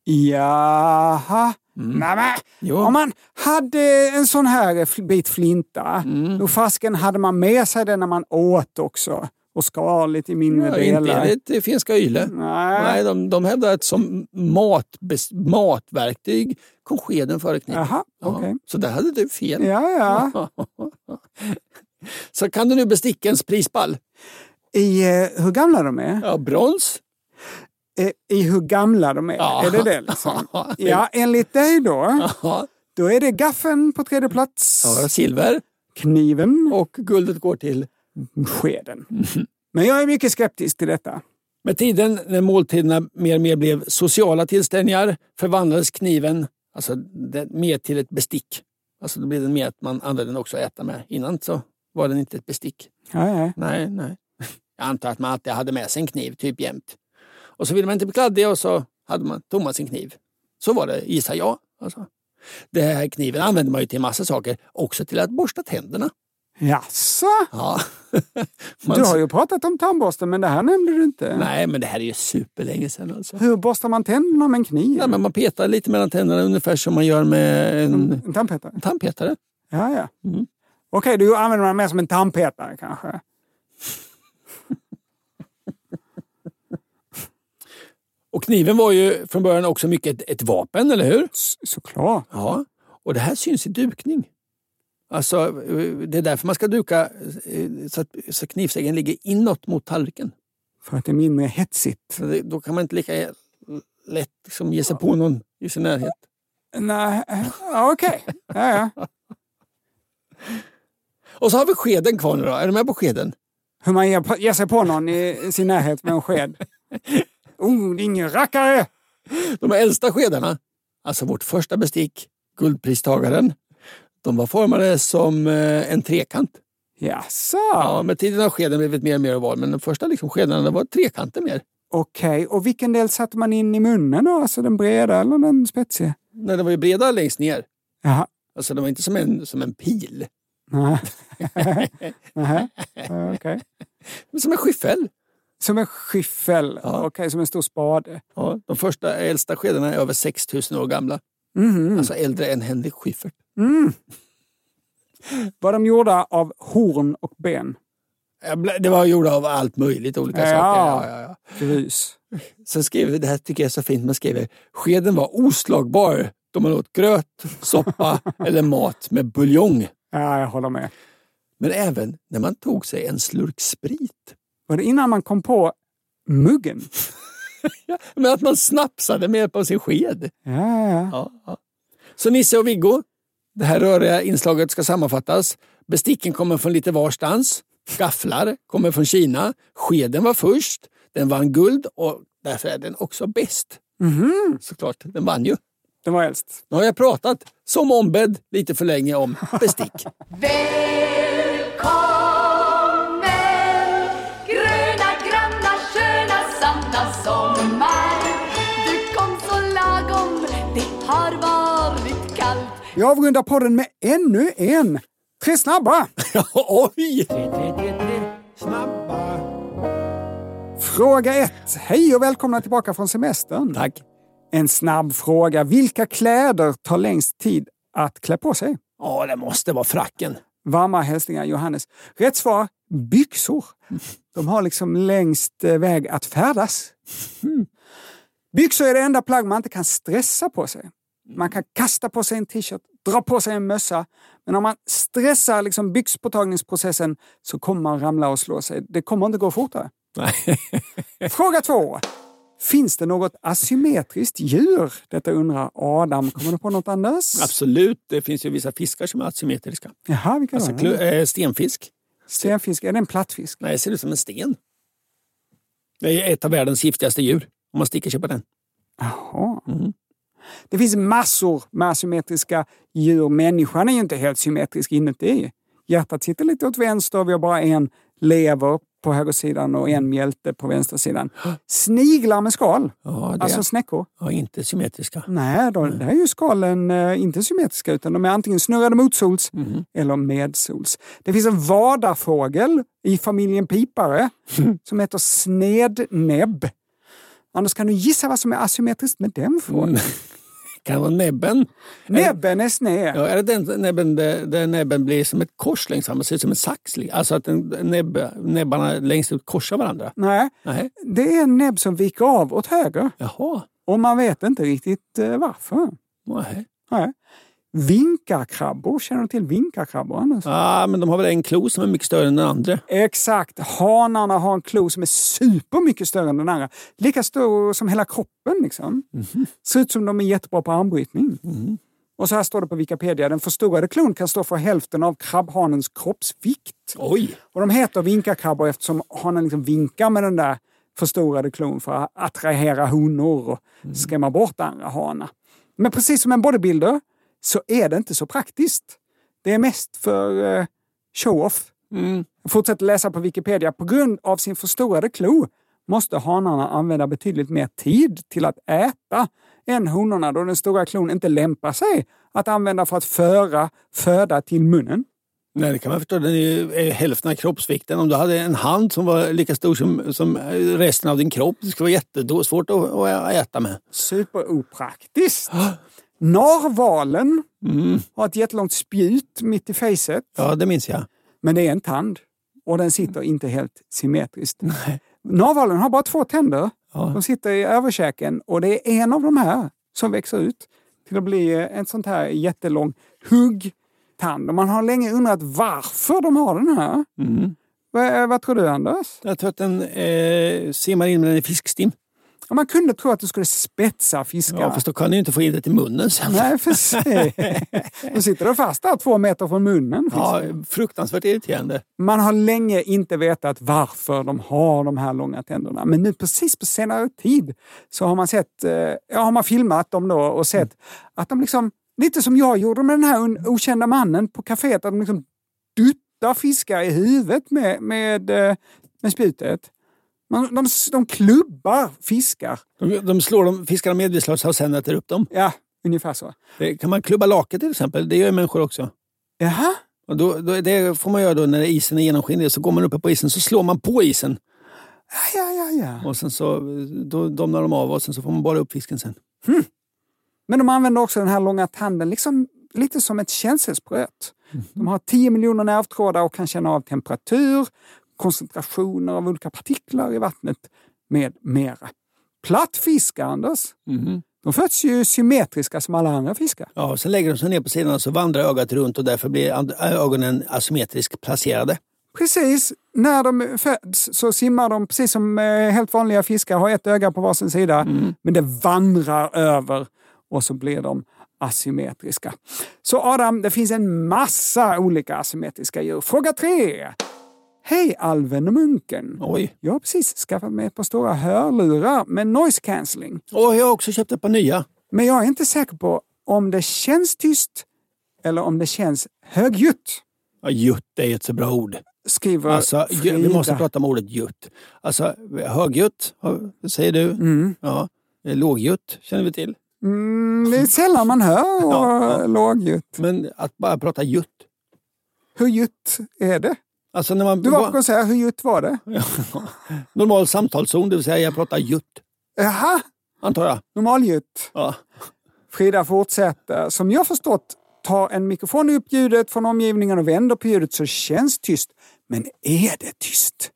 Speaker 3: Jaha. Nämen!
Speaker 2: Mm. Jo.
Speaker 3: Om man hade en sån här fl- bit flinta,
Speaker 2: Mm.
Speaker 3: då fasken hade man med sig den när man åt också. Och skar lite i mindre
Speaker 2: Ja, inte
Speaker 3: delar.
Speaker 2: enligt det finska YLE.
Speaker 3: Nej.
Speaker 2: Nej, de, de hävdar att som mat, bes, matverktyg kom skeden före kniven.
Speaker 3: Jaha, okej.
Speaker 2: Så där hade du fel.
Speaker 3: Ja, ja.
Speaker 2: Så kan du nu bestickens prispall?
Speaker 3: I eh, hur gamla de är?
Speaker 2: Ja, brons.
Speaker 3: Eh, I hur gamla de är?
Speaker 2: Ja.
Speaker 3: Är det det liksom? Ja, enligt dig då,
Speaker 2: Ja,
Speaker 3: då är det gaffeln på tredje plats.
Speaker 2: ja, silver.
Speaker 3: Kniven.
Speaker 2: Och guldet går till?
Speaker 3: Skeden.
Speaker 2: Mm.
Speaker 3: Men jag är mycket skeptisk till detta.
Speaker 2: Med tiden, när måltiderna mer och mer blev sociala tillställningar, förvandlades kniven alltså, det, mer till ett bestick. Alltså, då blev den mer att man använde den också att äta med. Innan så var den inte ett bestick.
Speaker 3: Ja, ja.
Speaker 2: Nej, nej. Jag antar att man alltid hade med sig en kniv, typ jämt. Och så ville man inte bli kladdig och så hade man, tog man sin kniv. Så var det, gissar jag. Alltså. Den här kniven använde man ju till massa saker, också till att borsta tänderna.
Speaker 3: Jaså?
Speaker 2: Ja.
Speaker 3: Du har ju pratat om tandborsten, men det här nämnde du inte.
Speaker 2: Nej, men det här är ju superlänge sedan alltså.
Speaker 3: Hur borstar man tänderna med en kniv?
Speaker 2: Nej, men man petar lite mellan tänderna ungefär som man gör med en
Speaker 3: En tandpetare?
Speaker 2: tandpetare.
Speaker 3: Ja, ja.
Speaker 2: Mm.
Speaker 3: Okej, du använder man mer som en tandpetare kanske?
Speaker 2: Och kniven var ju från början också mycket ett, ett vapen, eller hur?
Speaker 3: S- såklart.
Speaker 2: Ja. Och det här syns i dukning. Alltså, eh, det är därför man ska duka eh, så att så knivsäggen ligger inåt mot tallriken.
Speaker 3: För att det är mindre hetsigt.
Speaker 2: Så det, då kan man inte lika lätt liksom ge sig på någon i sin närhet.
Speaker 3: Nej, ja, okej. Ja, ja.
Speaker 2: Och så har vi skeden kvar nu då. Är du med på skeden?
Speaker 3: Hur man ger, ger sig på någon i sin närhet med en sked. Oh, det är ingen rackare!
Speaker 2: De äldsta skedarna, alltså vårt första bestick, guldpristagaren, de var formade som eh, en trekant.
Speaker 3: Jaså?
Speaker 2: Ja, med tiden har skeden blivit mer och mer oval, men de första liksom skedarna var trekanter mer.
Speaker 3: Okej, och vilken del satte man in i munnen då? Alltså den breda eller den spetsiga?
Speaker 2: Nej, de var ju breda längst ner.
Speaker 3: Jaha.
Speaker 2: Alltså de var inte som en, som en pil,
Speaker 3: Nej. Nej. Okej.
Speaker 2: men som en skyffel.
Speaker 3: Som en skyffel. Okej, som en stor spade.
Speaker 2: Ja, de första äldsta skedarna är över 6000 år gamla.
Speaker 3: Mhm.
Speaker 2: Alltså äldre än Henrik Schyffert.
Speaker 3: Mm. Var de gjorda av horn och ben?
Speaker 2: Jag ble- Det var gjorda av allt möjligt, olika
Speaker 3: Ja.
Speaker 2: saker. Ja, ja, ja.
Speaker 3: Grus.
Speaker 2: Sen skriver, det här tycker jag är så fint, man skriver skeden var oslagbar om man åt gröt, soppa eller mat med buljong.
Speaker 3: Ja, jag håller med.
Speaker 2: Men även när man tog sig en slurk sprit.
Speaker 3: Var det innan man kom på muggen?
Speaker 2: Men att man snapsade med hjälp av sin sked.
Speaker 3: Ja, ja, ja.
Speaker 2: ja. Så Nisse och Viggo, det här röriga inslaget ska sammanfattas. Besticken kommer från lite varstans. Gafflar kommer från Kina. Skeden var först. Den vann guld och därför är den också bäst.
Speaker 3: Mhm.
Speaker 2: Såklart, den vann ju.
Speaker 3: Den var äldst.
Speaker 2: Nu har jag pratat, som ombedd, lite för länge om bestick.
Speaker 11: Välkommen gröna, granna, sköna, sanna sommar. Du kom så lagom, det har varit kallt.
Speaker 3: Vi avrundar podden med ännu en. Tre snabba!
Speaker 2: Oj!
Speaker 3: Snabba. Fråga ett. Hej och välkomna tillbaka från semestern.
Speaker 2: Tack.
Speaker 3: En snabb fråga. Vilka kläder tar längst tid att klä på sig?
Speaker 2: Ja, det måste vara fracken.
Speaker 3: Varma hälsningar Johannes. Rätt svar, byxor. De har liksom längst eh, väg att färdas. Mm. Byxor är det enda plagg man inte kan stressa på sig. Man kan kasta på sig en t-shirt, dra på sig en mössa. Men om man stressar liksom byxpåtagningsprocessen så kommer man ramla och slå sig. Det kommer inte gå fortare. Fråga två. Finns det något asymmetriskt djur? Detta undrar Adam. Kommer du på något Anders?
Speaker 2: Absolut, det finns ju vissa fiskar som är asymmetriska.
Speaker 3: Jaha, vilka
Speaker 2: Alltså,
Speaker 3: då?
Speaker 2: klu- eh, stenfisk.
Speaker 3: Stenfisk, är det en plattfisk?
Speaker 2: Nej, det ser ut som en sten. Det är ett av världens giftigaste djur, om man sticker sig på den.
Speaker 3: Jaha. Det finns massor med asymmetriska djur. Människan är ju inte helt symmetrisk inuti. Hjärtat sitter lite åt vänster, vi har bara en lever på högersidan och en mjälte på vänstersidan. Sniglar med skal,
Speaker 2: Ja, det
Speaker 3: alltså snäckor.
Speaker 2: ja, inte symmetriska.
Speaker 3: Nej, då, det här är ju skalen eh, inte symmetriska utan de är antingen snurrade motsols
Speaker 2: Mhm.
Speaker 3: eller medsols. Det finns en vadarfågel i familjen pipare som heter snednäbb. Anders, kan du gissa vad som är asymmetriskt med den frågan?
Speaker 2: Mm. Kan det vara näbben?
Speaker 3: Näbben är sned.
Speaker 2: Ja, är det den näbben där, där näbben blir som ett kors längst fram? Det ser ut som en sax. li- Alltså att den, näbb, näbbarna längst ut korsar varandra.
Speaker 3: Nej,
Speaker 2: Nej.
Speaker 3: det är en näbb som viker av åt höger.
Speaker 2: Jaha.
Speaker 3: Och man vet inte riktigt eh, varför.
Speaker 2: Nej.
Speaker 3: Nej. Vinkarkrabbor, känner du till vinkarkrabbor Anders?
Speaker 2: Ah, men de har väl en klo som är mycket större än den andra.
Speaker 3: Exakt. Hanarna har en klo som är supermycket större än den andra. Lika stor som hela kroppen. Liksom. Ser ut som de är jättebra på armbrytning. Och så här står det på Wikipedia. Den förstorade klon kan stå för hälften av krabbhanens kroppsvikt.
Speaker 2: Oj!
Speaker 3: Och de heter vinkarkrabbor eftersom hanen liksom vinkar med den där förstorade klon för att attrahera honor och skrämma bort andra hanar. Men precis som en bodybuilder så är det inte så praktiskt. Det är mest för eh, show-off. Jag fortsätter läsa på Wikipedia. På grund av sin förstorade klo måste hanarna använda betydligt mer tid till att äta än honorna då den stora klon inte lämpar sig att använda för att föra föda till munnen.
Speaker 2: Nej, det kan man förstå. Den är ju är ju hälften av kroppsvikten. Om du hade en hand som var lika stor som, som eh, resten av din kropp, det skulle vara jättesvårt att, att äta med.
Speaker 3: Superopraktiskt. Narvalen
Speaker 2: Mm.
Speaker 3: har ett jättelångt spjut mitt i facet.
Speaker 2: Ja, det minns jag.
Speaker 3: Men det är en tand och den sitter inte helt symmetriskt. Narvalen har bara två tänder. De sitter i överkäken och det är en av de här som växer ut till att bli en sån här jättelång huggtand. Och man har länge undrat varför de har den här.
Speaker 2: Mm.
Speaker 3: Vad, eh, vad tror du Anders?
Speaker 2: Jag tror att den eh, simmar in med den i fiskstim.
Speaker 3: Ja, Man kunde tro att du skulle spetsa fiskar.
Speaker 2: Ja, fast då kan du ju inte få in det till munnen sen.
Speaker 3: Nej, precis. De sitter de fast där två meter från munnen.
Speaker 2: Ja, fruktansvärt irriterande.
Speaker 3: Man har länge inte vetat varför de har de här långa tänderna. Men nu precis på senare tid så har man, sett, eh, ja, har man filmat dem då och sett att de liksom, lite som jag gjorde med den här un- okända mannen på kaféet, att de liksom duttar fiskar i huvudet med, med, eh, med spjutet. Man, de, de klubbar fiskar.
Speaker 2: De, de slår dem, fiskar dem medvetslösa och sen äter upp dem.
Speaker 3: Ja, ungefär så.
Speaker 2: Det, kan man klubba laket till exempel? Det gör ju människor också.
Speaker 3: Jaha?
Speaker 2: Och då, då, det får man göra då när isen är genomskinlig. Så går man uppe på isen så slår man på isen.
Speaker 3: Ja, ja, ja.
Speaker 2: Och sen så då domnar de av och sen så får man bara upp fisken sen.
Speaker 3: Men de använder också den här långa tanden liksom, lite som ett känselspröt. De har 10 miljoner nervtrådar och kan känna av temperatur, koncentrationer av olika partiklar i vattnet med mera. Plattfiskar, Anders, De föds ju symmetriska som alla andra fiskar.
Speaker 2: Ja, sen lägger de sig ner på sidan och så vandrar ögat runt och därför blir and- ögonen asymmetriskt placerade.
Speaker 3: Precis. När de föds så simmar de precis som eh, helt vanliga fiskar, har ett öga på varsin sida.
Speaker 2: Mm.
Speaker 3: Men det vandrar över och så blir de asymmetriska. Så Adam, det finns en massa olika asymmetriska djur. Fråga tre! Hej alven och munken!
Speaker 2: Oj.
Speaker 3: Jag har precis skaffat mig ett par stora hörlurar med noise cancelling.
Speaker 2: Och jag har också köpt ett par nya.
Speaker 3: Men jag är inte säker på om det känns tyst eller om det känns högljutt.
Speaker 2: Ja, Jutt är ju ett så bra ord.
Speaker 3: Skriver
Speaker 2: Alltså, ju- vi måste
Speaker 3: Frida.
Speaker 2: prata om ordet jutt. Alltså, högljutt har- säger du. Ja. Lågljutt känner vi till.
Speaker 3: Mm, det är sällan man hör och lågljutt.
Speaker 2: Men att bara prata jutt.
Speaker 3: Hur ljutt är det?
Speaker 2: Alltså när man
Speaker 3: Du var på konsert, hur ljutt var det?
Speaker 2: normal samtalszon, det vill säga jag pratar jutt.
Speaker 3: Jaha,
Speaker 2: Antar jag.
Speaker 3: normalljud.
Speaker 2: Ja.
Speaker 3: Frida fortsätter. Som jag förstått tar en mikrofon upp ljudet från omgivningen och vänder på ljudet så det känns tyst. Men är det tyst?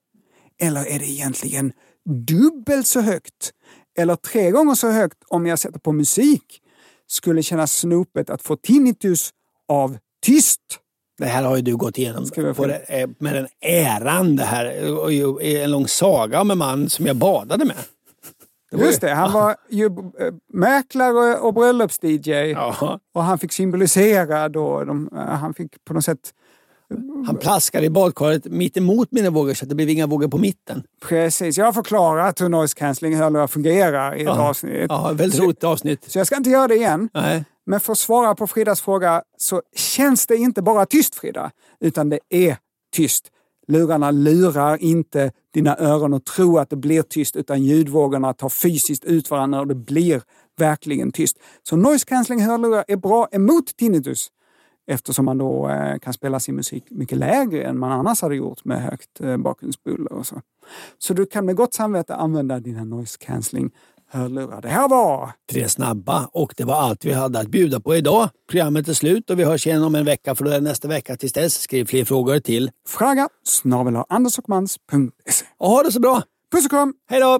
Speaker 3: Eller är det egentligen dubbelt så högt? Eller tre gånger så högt om jag sätter på musik? Skulle kännas snopet att få tinnitus av tyst.
Speaker 2: Det här har ju du gått igenom
Speaker 3: Ska vi få-
Speaker 2: på det, eh, med den äran. Det här eh, och ju- är en lång saga om en man som jag badade med. var ju-
Speaker 3: Just det, han var ju eh, mäklare och bröllops-DJ.
Speaker 2: Ja.
Speaker 3: Och han fick symbolisera då, de, eh, han fick på något sätt
Speaker 2: Han plaskade i badkaret mitt emot mina vågor så att det blev inga vågor på mitten.
Speaker 3: Precis, jag har förklarat hur noise cancelling hörlurar fungerar i ett
Speaker 2: Ja.
Speaker 3: avsnitt.
Speaker 2: Ja, väldigt
Speaker 3: så,
Speaker 2: roligt avsnitt.
Speaker 3: så jag ska inte göra det igen.
Speaker 2: Nej.
Speaker 3: Men för att svara på Fridas fråga så känns det inte bara tyst Frida, utan det är tyst. Lurarna lurar inte dina öron och tror att det blir tyst utan ljudvågorna tar fysiskt ut varandra och det blir verkligen tyst. Så noise cancelling hörlurar är bra emot tinnitus eftersom man då eh, kan spela sin musik mycket lägre än man annars hade gjort med högt eh, bakgrundsbuller och så. Så du kan med gott samvete använda dina noise cancelling hörlurar. Det här var
Speaker 2: Tre snabba och det var allt vi hade att bjuda på idag. Programmet är slut och vi hörs igen om en vecka för då är det nästa vecka. Tills dess, skriv fler frågor till...
Speaker 3: Fraga snabel andersochmans.se.
Speaker 2: Och ha det så bra!
Speaker 3: Puss och kram!
Speaker 2: Hej då!